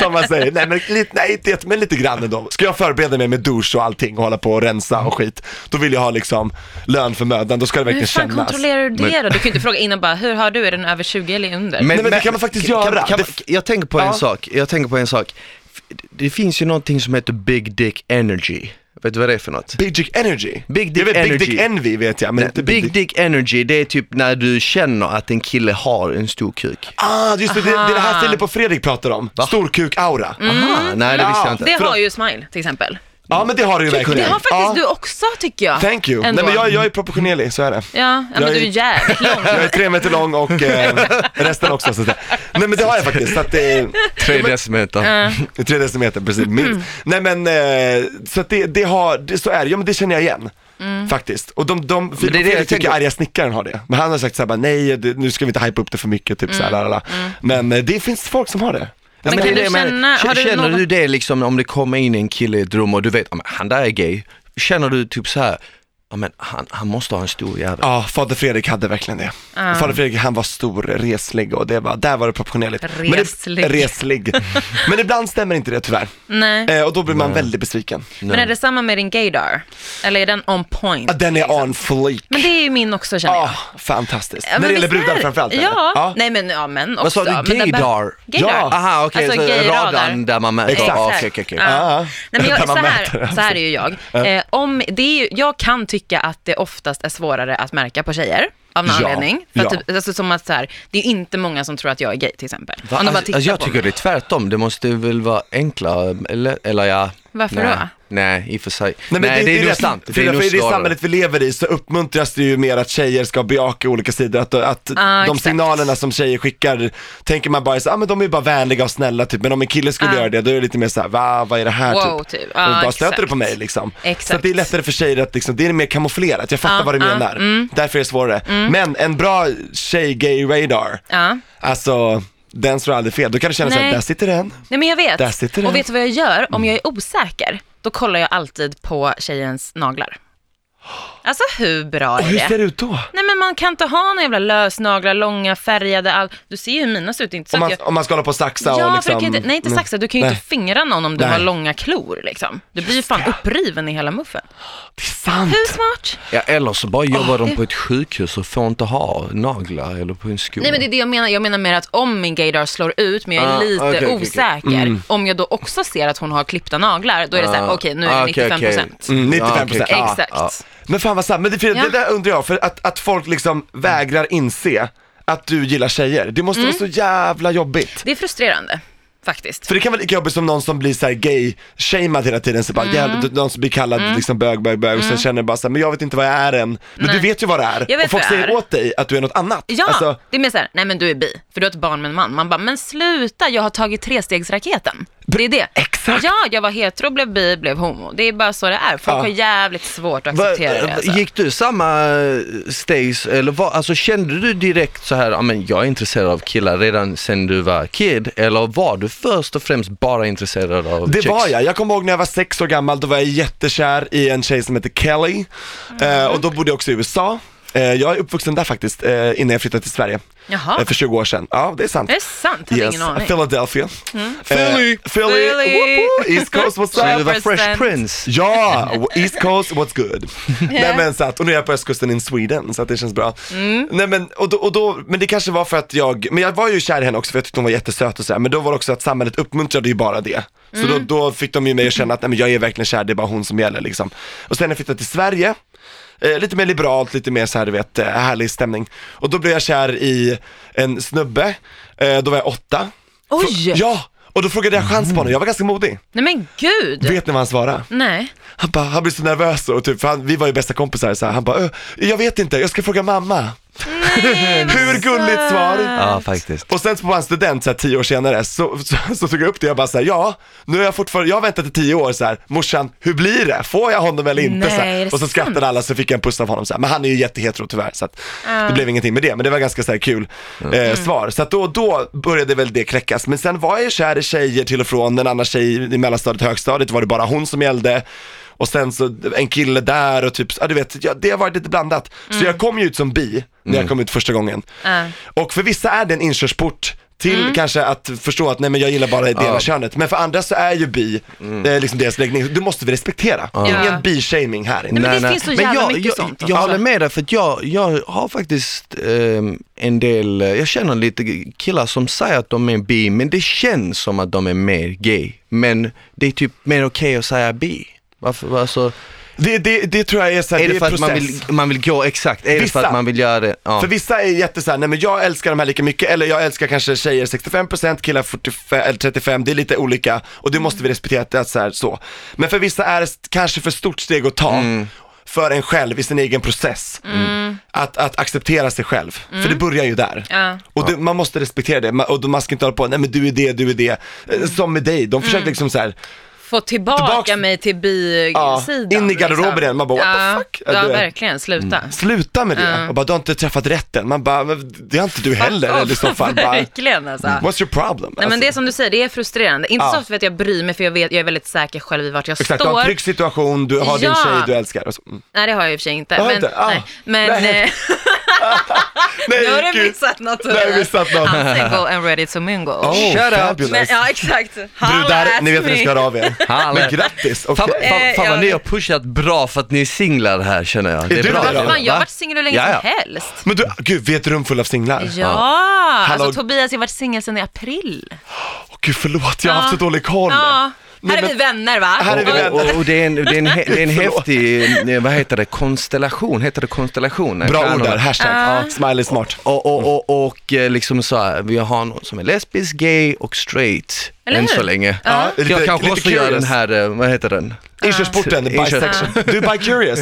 Speaker 1: som man säger. Nej, men lite, nej, inte jätte- men lite grann ändå. Ska jag förbereda mig med douche och allting och hålla på och rensa och skit, då vill jag ha liksom lön för mödan, då ska det
Speaker 3: Men Hur
Speaker 1: verkligen
Speaker 3: fan
Speaker 1: kännas.
Speaker 3: kontrollerar du det då? Du kan ju inte fråga innan bara, hur har du, är den över 20 eller under?
Speaker 1: Nej, men det kan man faktiskt göra.
Speaker 2: Kan,
Speaker 1: Det-
Speaker 2: jag tänker på
Speaker 1: Ja.
Speaker 2: en sak, jag tänker på en sak. F- Det finns ju någonting som heter Big Dick Energy. Vet du vad det är för något?
Speaker 1: Big Dick Energy.
Speaker 2: Big Dick
Speaker 1: jag vet, Big
Speaker 2: Energy.
Speaker 1: Dick Envy vet jag, men inte
Speaker 2: Big, Dick Energy, det är typ när du känner att en kille har en stor kuk.
Speaker 1: Ah, just det, det, det är det här Filip och Fredrik pratar om. Storkuk-aura.
Speaker 3: Mm.
Speaker 2: Aha, nej det visste
Speaker 1: Ja.
Speaker 2: jag inte.
Speaker 3: Det
Speaker 1: Förlåt.
Speaker 3: har ju Smile till exempel.
Speaker 1: Ja men det har du ju verkligen.
Speaker 3: Det har faktiskt
Speaker 1: ja.
Speaker 3: du också tycker jag.
Speaker 1: Thank you.
Speaker 3: Ändå.
Speaker 1: Nej men jag, jag är proportionerlig, så är det.
Speaker 3: Ja, ja men
Speaker 1: Jag är-
Speaker 3: du är jävligt lång.
Speaker 1: Jag är tre meter lång och eh, resten också så att säga. Nej men det har jag faktiskt, så att det är
Speaker 2: Tre
Speaker 3: Eh,
Speaker 2: decimeter.
Speaker 1: det är tre decimeter precis,
Speaker 3: Mm.
Speaker 1: minst. Nej men, eh, så att det, det har, det, så är det, ja men det känner jag igen.
Speaker 3: Mm.
Speaker 1: Faktiskt. Och de, de Filip och
Speaker 2: det är det jag
Speaker 1: Fredrik tycker
Speaker 2: tänker.
Speaker 1: arga snickaren har det. Men han har sagt såhär bara, nej det, nu ska vi inte hypa upp det för mycket, typ såhär, lalala. Men eh, det finns folk som har det.
Speaker 2: Ja,
Speaker 3: Mm. Men kan
Speaker 2: det är
Speaker 3: du
Speaker 2: det jag menar.
Speaker 3: känna- har
Speaker 2: K-
Speaker 3: du
Speaker 2: känner
Speaker 3: någon-
Speaker 2: du det liksom om det kommer in en kille i ett rum och du vet, "Ja, men han där är gay. Känner du typ så här, ja men han, han måste ha en stor jävel.
Speaker 1: Ja, fader Fredrik hade verkligen det.
Speaker 3: Ah.
Speaker 1: Fader Fredrik han var stor, reslig och det var, där var det proportionerligt. Men det-
Speaker 3: Reslig.
Speaker 1: reslig. Men ibland stämmer inte det tyvärr.
Speaker 3: Nej.
Speaker 1: Eh, och då blir man väldigt besviken.
Speaker 3: Men är det samma med din gaydar? Eller är den on point?
Speaker 1: Ja, den är on fleek.
Speaker 3: Men det är ju min också känner jag.
Speaker 1: Ah, fantastiskt.
Speaker 3: Ja,
Speaker 1: När
Speaker 3: men
Speaker 1: det gäller
Speaker 3: visst är
Speaker 1: brudar
Speaker 3: det-
Speaker 1: framförallt. eller? Ah.
Speaker 3: Ja. nej men ja män också.
Speaker 2: Vad sa du,
Speaker 3: Men den där-
Speaker 2: gaydar?
Speaker 3: Gaydar.
Speaker 1: Ja.
Speaker 2: Aha okej,
Speaker 3: Alltså,
Speaker 2: så
Speaker 3: gayradar.
Speaker 2: radarn där man mäter.
Speaker 1: Exakt.
Speaker 2: Ja, okej, okej, okej.
Speaker 1: Ja.
Speaker 3: Nej, men jag,
Speaker 1: Där Ah. man
Speaker 3: så,
Speaker 1: mäter,
Speaker 3: här,
Speaker 1: alltså.
Speaker 3: så här är ju jag. Eh, om det är ju, jag kan tycka att det oftast är svårare att märka på tjejer. Av någon
Speaker 1: Ja,
Speaker 3: anledning. För att
Speaker 1: ja.
Speaker 3: typ, alltså, som att så här, det är ju inte många som tror att jag är gay till exempel.
Speaker 2: Va?
Speaker 3: Om de bara
Speaker 2: Alltså,
Speaker 3: tittar
Speaker 2: alltså, jag
Speaker 3: på
Speaker 2: tycker det
Speaker 3: mig.
Speaker 2: är tvärtom, det måste väl vara enklare, eller, eller ja.
Speaker 3: Varför
Speaker 2: nej.
Speaker 3: då?
Speaker 2: Nej, i och för sig.
Speaker 1: Nej,
Speaker 2: Nej,
Speaker 1: men
Speaker 2: det, är nog
Speaker 1: rätt.
Speaker 2: sant. Det
Speaker 1: För
Speaker 2: är nog
Speaker 1: I det
Speaker 2: svårare.
Speaker 1: samhället vi lever i så uppmuntras det ju mer att tjejer ska bejaka olika sidor. Att, att
Speaker 3: Ah,
Speaker 1: de
Speaker 3: exakt.
Speaker 1: signalerna som tjejer skickar, tänker man bara så, ah, men de är ju bara vänliga och snälla typ. Men om en kille skulle
Speaker 3: Ah.
Speaker 1: göra det, då är det lite mer såhär, va, vad är det här
Speaker 3: Wow,
Speaker 1: typ?
Speaker 3: typ. Ah,
Speaker 1: och bara stöter du
Speaker 3: exakt.
Speaker 1: på mig liksom? Så
Speaker 3: Exakt.
Speaker 1: att det är lättare för tjejer att liksom, det är mer kamouflerat, jag fattar
Speaker 3: Ah,
Speaker 1: vad du
Speaker 3: ah, Mm.
Speaker 1: menar. Därför är det svårare. Men en bra tjej-gay-radar,
Speaker 3: Ja.
Speaker 1: alltså den slår aldrig fel. Då kan du känna såhär,
Speaker 3: Nej.
Speaker 1: där sitter den.
Speaker 3: Nej men jag vet.
Speaker 1: Där sitter den.
Speaker 3: Och vet du vad jag gör? Om jag är osäker, då kollar jag alltid på tjejens naglar. Alltså hur bra
Speaker 1: Hur
Speaker 3: är
Speaker 1: ser
Speaker 3: det?
Speaker 1: det ut då?
Speaker 3: Nej men man kan inte ha några jävla lösnaglar, långa, färgade, all... du ser ju hur mina ser ut. det är Inte så
Speaker 1: Om man,
Speaker 3: att jag...
Speaker 1: om man ska hålla på och saxa
Speaker 3: Ja,
Speaker 1: och
Speaker 3: för du
Speaker 1: liksom...
Speaker 3: kan ju inte, nej inte saxa, du kan ju
Speaker 1: Nej.
Speaker 3: inte fingra någon om du
Speaker 1: Nej.
Speaker 3: har långa klor liksom. Du blir ju fan uppriven i hela muffen.
Speaker 1: Det är sant.
Speaker 3: Hur smart?
Speaker 2: Ja, eller så bara jobbar de
Speaker 3: det-
Speaker 2: på ett sjukhus och får inte ha naglar eller på en sko.
Speaker 3: Nej men det är det jag menar, jag menar mer att om min gaydar slår ut men jag är
Speaker 2: Ah,
Speaker 3: lite
Speaker 2: okej, okej, okej.
Speaker 3: osäker, om jag då också ser att hon har klippta naglar, då är det så här,
Speaker 2: Ah.
Speaker 3: okej nu är
Speaker 2: Ah,
Speaker 3: det
Speaker 2: okej,
Speaker 3: 95%.
Speaker 2: okej.
Speaker 1: Mm, 95%.
Speaker 2: Ja, okej, okej.
Speaker 1: Ja.
Speaker 3: Exakt.
Speaker 2: Ah,
Speaker 1: Men fan vad sant, men det, Frida,
Speaker 3: Ja.
Speaker 1: det där undrar jag, för att, att folk liksom vägrar inse att du gillar tjejer, det måste
Speaker 3: Mm.
Speaker 1: vara så jävla jobbigt.
Speaker 3: Det är frustrerande faktiskt.
Speaker 1: För det kan vara lika jobbigt som någon som blir såhär gay-shamed hela tiden, så bara,
Speaker 3: Mm.
Speaker 1: jävla, någon som blir kallad liksom bög, bög, bög och sen känner bara såhär, men jag vet inte vad jag är än. Men du vet ju vad det är.
Speaker 3: Jag vet
Speaker 1: och folk
Speaker 3: vad jag
Speaker 1: säger
Speaker 3: är.
Speaker 1: åt dig att du är något annat.
Speaker 3: Ja,
Speaker 1: Alltså,
Speaker 3: det är mer såhär, nej men du är bi, för du har ett barn med en man. Man bara, men sluta, jag har tagit trestegsraketen. Det är det.
Speaker 1: Exakt.
Speaker 3: Ja, jag var hetero, blev bi, blev homo. Det är bara så det är. Folk
Speaker 1: Ja.
Speaker 3: har jävligt svårt att
Speaker 2: Va-
Speaker 3: acceptera det. Alltså.
Speaker 2: Eh, Gick du samma eh, stage, eller vad, alltså kände du direkt så här, "Ja, men jag är intresserad av killar redan sen du var kid, eller var du först och främst bara intresserad av
Speaker 1: Det
Speaker 2: chicks?
Speaker 1: var jag. Jag kommer ihåg när jag var sex år gammal, då var jag jättekär i en tjej som hette Kelly. Eh, och då bodde jag också i USA. Eh, jag är uppvuxen där faktiskt, eh, innan jag flyttade till Sverige.
Speaker 3: Jaha.
Speaker 1: Eh, för 20 år sedan. Ja, det är sant.
Speaker 3: Är det sant? Hade ingen aning.
Speaker 1: Philadelphia. Eh, Philly.
Speaker 2: Philly.
Speaker 3: Philly.
Speaker 1: Woop woop. East Coast,
Speaker 2: Så
Speaker 1: what's
Speaker 2: du
Speaker 1: up?
Speaker 2: var Fresh
Speaker 3: Represent.
Speaker 2: Prince.
Speaker 1: Ja, East Coast, what's good? Nej men så att, och nu är jag på östkusten in Sweden så att det känns bra. Nej men, och då, och då, men det kanske var för att jag, men jag var ju kär i henne också för jag tyckte hon var jättesöt och sådär, men då var det också att samhället uppmuntrade ju bara det. Så då, då fick de ju mig att känna att nej, men jag är verkligen kär, det är bara hon som gäller liksom. Och sen när jag flyttade till Sverige, eh, lite mer liberalt, lite mer så här, du vet, eh, härlig stämning. Och då blev jag kär i en snubbe, eh, då var jag åtta.
Speaker 3: Oj!
Speaker 1: Ja! Och då frågade jag chans på honom, jag var ganska modig.
Speaker 3: Nej men gud!
Speaker 1: Vet ni vad han svarade?
Speaker 3: Nej.
Speaker 1: Han bara, han blev så nervös och typ, för han, vi var ju bästa kompisar så här. han bara, "Ö, jag vet inte, jag ska fråga mamma. Hur
Speaker 3: Alltså.
Speaker 1: gulligt svar!
Speaker 2: Ja, faktiskt.
Speaker 1: Och sen på hans student så här, tio år senare så, så, så tog jag upp det jag bara så här, ja, nu har jag fortfarande, jag har väntat i tio år så här, morsan, hur blir det? Får jag honom eller inte?
Speaker 3: Nej,
Speaker 1: så
Speaker 3: är
Speaker 1: här.
Speaker 3: det
Speaker 1: Och så
Speaker 3: sant?
Speaker 1: skrattade alla så fick jag en puss av honom så här. men han är ju jättehetero tyvärr så att det blev ingenting med det, men det var ganska så här kul eh,
Speaker 3: Mm.
Speaker 1: svar. Så att då, då började väl det kläckas, men sen var jag ju kär i tjejer till och från, en annan tjej i mellanstadiet och högstadiet var det bara hon som gällde. Och sen så en kille där och typ, ja du vet, ja, det har varit lite blandat. Så jag kom ju ut som bi när jag kom ut första gången.
Speaker 3: Mm. Ja.
Speaker 1: Och för vissa är det en inkörsport till
Speaker 3: Mm.
Speaker 1: kanske att förstå att nej men jag gillar bara det ena könet. Men för andra så är ju bi,
Speaker 2: Mm.
Speaker 1: eh, liksom deras läggning, det måste vi respektera. Ingen
Speaker 3: Ja.
Speaker 1: bi-shaming här inne.
Speaker 3: Nej, men det finns så jävla
Speaker 2: jag,
Speaker 3: mycket
Speaker 2: jag,
Speaker 3: sånt
Speaker 2: Jag
Speaker 3: också.
Speaker 2: håller med dig för att jag, jag har faktiskt ehm, en del, eh, jag känner lite killar som säger att de är bi men det känns som att de är mer gay. Men det är typ mer okej att säga bi. Varför, alltså,
Speaker 1: Det, det, det tror jag är så här,
Speaker 2: är det för att
Speaker 1: process.
Speaker 2: man vill, man vill gå, exakt, är det för
Speaker 1: Vissa.
Speaker 2: att man vill göra det? Ja.
Speaker 1: För vissa är jätte så här, nej men jag älskar de här lika mycket, eller jag älskar kanske tjejer 65%, killar 45, eller 35, det är lite olika och
Speaker 3: Mm.
Speaker 1: det måste vi respektera att det är så, här, så. Men för vissa är det s- kanske för stort steg att ta.
Speaker 3: Mm.
Speaker 1: för en själv i sin egen process. Att, att acceptera sig själv, för det börjar ju där.
Speaker 3: Mm. Ja.
Speaker 1: Och det, man måste respektera det, Man- och då- man ska inte hålla på, nej men du är det, du är det. Eh, Som med dig, de
Speaker 3: Mm.
Speaker 1: försöker liksom så här,
Speaker 3: Få tillbaka,
Speaker 1: Tillbaks-
Speaker 3: mig till bi-sidan. liksom.
Speaker 1: Ja, in i garderoben igen. Man bara, what the
Speaker 3: ja.
Speaker 1: fuck?
Speaker 3: Ja,
Speaker 1: Du är-
Speaker 3: verkligen. Sluta.
Speaker 1: sluta med det. Och bara, du har inte träffat rätten. Man bara, men det har inte du heller.
Speaker 3: Ja,
Speaker 1: Eller i så fall bara,
Speaker 3: verkligen alltså.
Speaker 1: what's your problem? Alltså,
Speaker 3: Nej men det är som du säger, det är frustrerande. Inte
Speaker 1: Ja.
Speaker 3: så ofta för att jag bryr mig för jag, vet, jag är väldigt säker själv i vart jag
Speaker 1: Exakt, du har
Speaker 3: står.
Speaker 1: en trygg situation, du har din
Speaker 3: Ja.
Speaker 1: tjej du älskar. Och så. Mm.
Speaker 3: Nej det har jag i och för sig inte.
Speaker 1: Har du
Speaker 3: Men,
Speaker 1: inte? Ah.
Speaker 3: nej. men
Speaker 1: Nej.
Speaker 3: eh, nu har du
Speaker 1: gud.
Speaker 3: missat något.
Speaker 1: Nej, jag har missat något.
Speaker 3: I'm single and ready to mingle.
Speaker 1: Oh,
Speaker 2: Shut up.
Speaker 1: fabulous.
Speaker 3: men, ja exakt. Holla
Speaker 1: Brudar,
Speaker 3: at
Speaker 1: ni vet hur
Speaker 3: me.
Speaker 1: ni ska höra av er.
Speaker 2: Hallå.
Speaker 1: Men grattis. Okay.
Speaker 2: Fan, fan,
Speaker 3: Eh,
Speaker 2: fan vad
Speaker 3: jag-
Speaker 2: ni har pushat bra för att ni är singlar här känner jag. Det
Speaker 1: Är
Speaker 2: är
Speaker 1: du
Speaker 2: bra.
Speaker 1: det då?
Speaker 3: Fan, jag
Speaker 2: Va?
Speaker 3: har varit singel hur länge
Speaker 2: Ja,
Speaker 3: som
Speaker 2: ja.
Speaker 3: helst.
Speaker 1: Men du, gud, vi är ett rum full av singlar.
Speaker 3: Ja,
Speaker 1: Hallå.
Speaker 3: alltså Tobias har varit singel sedan i april.
Speaker 1: Åh, gud, förlåt, jag har
Speaker 3: Ja.
Speaker 1: haft så dålig koll.
Speaker 3: Ja,
Speaker 1: Nej,
Speaker 3: här är
Speaker 1: men-
Speaker 3: vi vänner va?
Speaker 1: Här är vi
Speaker 3: Och-
Speaker 1: vänner.
Speaker 2: Och, och, och det är en, det är en, he- det är en
Speaker 1: Förlåt.
Speaker 2: häftig, eh, vad heter det, konstellation, heter det konstellation?
Speaker 1: Bra ord
Speaker 2: Stjärnorna.
Speaker 1: där, hashtag. Smiley smart.
Speaker 2: Och, och, och, och eh, liksom så här, vi har någon som är lesbisk, gay och straight
Speaker 3: Eller
Speaker 2: än
Speaker 3: hur?
Speaker 2: så länge.
Speaker 3: Ja.
Speaker 1: Ja, lite-
Speaker 2: jag kanske
Speaker 1: lite
Speaker 2: också gör
Speaker 1: curious.
Speaker 2: den här, eh, vad heter den?
Speaker 1: Inkörsporten, bisection. Du är bi-curious.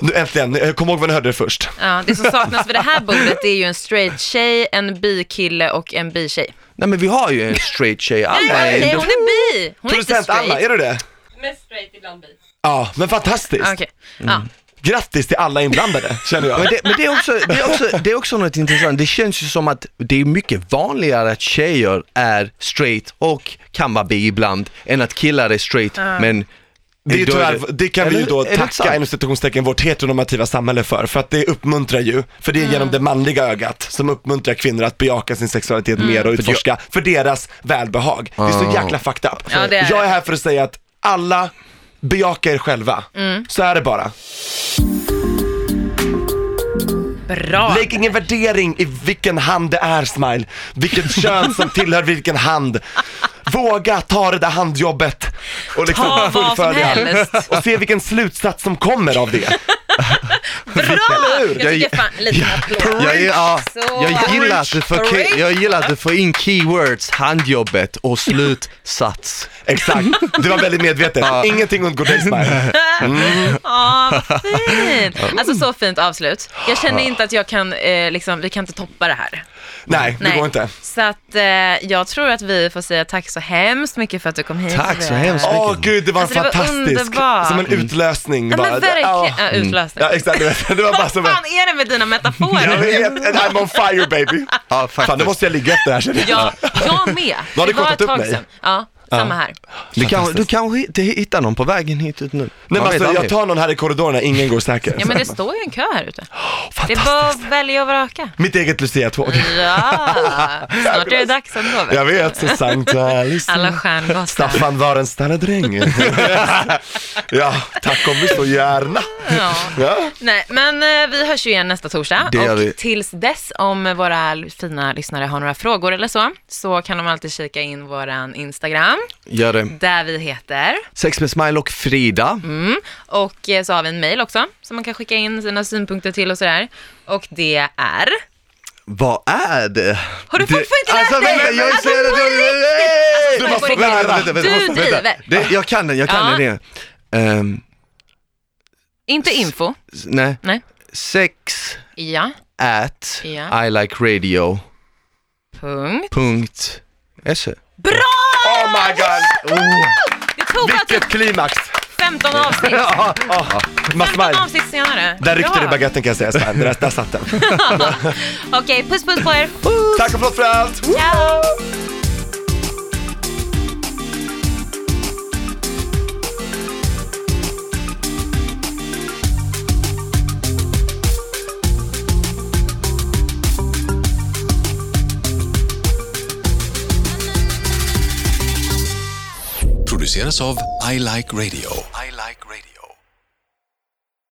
Speaker 1: Nu äntligen, jag kommer ihåg vad ni hörde det först.
Speaker 3: Ja, det som saknas vid det här bordet det är ju en straight tjej, en bi-kille och en bi-tjej.
Speaker 2: Nej men vi har ju en straight tjej, Alma
Speaker 3: Nej,
Speaker 2: är
Speaker 3: nej,
Speaker 2: en
Speaker 3: hon är bi! Hon är inte
Speaker 1: Producent
Speaker 3: straight.
Speaker 1: Anna, är du det?
Speaker 3: Mest straight, ibland bi.
Speaker 1: Ja, men fantastiskt.
Speaker 3: Okej, Mm. ja.
Speaker 1: Grattis till alla inblandade, känner jag.
Speaker 2: Men, det, men det, är också, det, är också, det är också något intressant, det känns ju som att det är mycket vanligare att tjejer är straight och kan vara bi ibland än att killar är straight men
Speaker 1: Det, är ju
Speaker 2: då är
Speaker 1: tyvärr, det kan vi ju
Speaker 2: Eller-
Speaker 1: då
Speaker 2: är det sant?
Speaker 1: tacka inom citationstecken vårt heteronormativa samhälle för, för att det uppmuntrar ju, för det är genom det manliga ögat som uppmuntrar kvinnor att bejaka sin sexualitet mer och utforska för deras välbehag. Det är så
Speaker 2: Ah.
Speaker 1: jäkla fucked up.
Speaker 3: Ja, det är
Speaker 1: Jag är
Speaker 3: det.
Speaker 1: här för att säga att alla bejakar er själva. Så är det bara.
Speaker 3: Bra.
Speaker 1: Lägg ingen värdering i vilken hand det är Smile, vilket kön som tillhör vilken hand. Våga ta det där handjobbet och liksom
Speaker 3: Ta vad som helst.
Speaker 1: och se vilken slutsats som kommer av det.
Speaker 3: Bra! Jag
Speaker 2: Jag-
Speaker 3: tycker fan, lite applåd.
Speaker 2: Jag, ja,
Speaker 3: Så.
Speaker 2: jag, gillar att du får,
Speaker 3: Preach.
Speaker 2: jag gillar att du får in keywords, handjobbet och slutsats.
Speaker 1: Exakt, det var väldigt medvetet. Ingenting undgår dig Smile.
Speaker 3: Ja, vad fint. Alltså så fint avslut. Jag känner inte att jag kan, eh, liksom, vi kan inte toppa det här.
Speaker 1: Nej, det går inte.
Speaker 3: Så att eh, jag tror att vi får säga tack så hemskt mycket för att du kom hit.
Speaker 2: Tack så hemskt mycket.
Speaker 1: Åh gud, det var en
Speaker 3: Alltså, det var
Speaker 1: fantastisk,
Speaker 3: underbart.
Speaker 1: som en utlösning.
Speaker 3: Ja,
Speaker 1: bara.
Speaker 3: men verkligen.
Speaker 1: Ja. Mm.
Speaker 3: Ja, utlösning.
Speaker 1: Ja exakt, du vet. det var bara
Speaker 3: Vad
Speaker 1: som en,
Speaker 3: fan är det med dina
Speaker 1: jag
Speaker 3: metaforer?
Speaker 1: vet, and I'm on fire baby.
Speaker 2: Ja,
Speaker 1: Fan, nu måste jag ligga efter det här känner jag.
Speaker 3: Ja, jag med.
Speaker 1: Du hade
Speaker 3: Det var
Speaker 1: kortat
Speaker 3: ett
Speaker 1: upp
Speaker 3: tag
Speaker 1: mig.
Speaker 3: sedan. Ja. Samma här.
Speaker 2: Du kanske, du kanske inte hittar någon på vägen hit ut nu. Nej,
Speaker 1: Nej men alltså, jag tar någon här i korridoren när ingen går säker.
Speaker 3: Ja, men det står ju en kö här ute. Det är
Speaker 1: Fantastiskt.
Speaker 3: bara att välja och vraka.
Speaker 1: Mitt eget Lucia-tåg.
Speaker 3: Ja, snart är det dags ändå. vet du.
Speaker 1: Jag vet, så Sankta Lucia.
Speaker 3: Alla stjärngossar.
Speaker 1: Staffan var en stannedräng. ja, tack om vi så gärna.
Speaker 3: Ja.
Speaker 1: Ja.
Speaker 3: Nej, men eh, vi hörs ju igen nästa torsdag.
Speaker 2: Det gör
Speaker 3: och
Speaker 2: vi.
Speaker 3: tills dess, om våra l- fina lyssnare har några frågor eller så, så kan de alltid kika in våran Instagram,
Speaker 2: Gör det.
Speaker 3: där vi heter.
Speaker 2: Sex med Smile och Frida.
Speaker 3: Mm. Och eh, så har vi en mail också, som man kan skicka in sina synpunkter till och sådär. Och det är...
Speaker 2: Vad är det?
Speaker 3: Har du
Speaker 2: det,
Speaker 3: fortfarande inte lärt
Speaker 2: Alltså
Speaker 3: dig?
Speaker 2: vänta, jag är
Speaker 3: Alltså,
Speaker 2: så jävla
Speaker 3: på
Speaker 2: dålig.
Speaker 1: Du måste
Speaker 3: riktigt.
Speaker 1: lära dig.
Speaker 3: Du driver.
Speaker 2: Det, jag kan den, jag kan
Speaker 3: Ja.
Speaker 2: den igen. Ehm,
Speaker 3: Inte info.
Speaker 2: s- nej.
Speaker 3: Nej.
Speaker 2: Sex
Speaker 3: Ja.
Speaker 2: at
Speaker 3: Ja.
Speaker 2: I like radio.
Speaker 3: Punkt.
Speaker 2: Punkt E. se.
Speaker 3: Bra!
Speaker 1: Oh my god,
Speaker 3: Det tog alltså
Speaker 1: vilket klimax.
Speaker 3: 15 avsnitt.
Speaker 1: Oh, Must
Speaker 3: 15
Speaker 1: mine.
Speaker 3: avsnitt senare.
Speaker 1: Där ryckte
Speaker 3: Bra.
Speaker 1: det i baguetten kan jag säga, Sven. Där, där satt den.
Speaker 3: Okej, puss puss på er.
Speaker 1: Tack och förlåt för allt.
Speaker 3: Ciao!
Speaker 4: produceras av I Like Radio.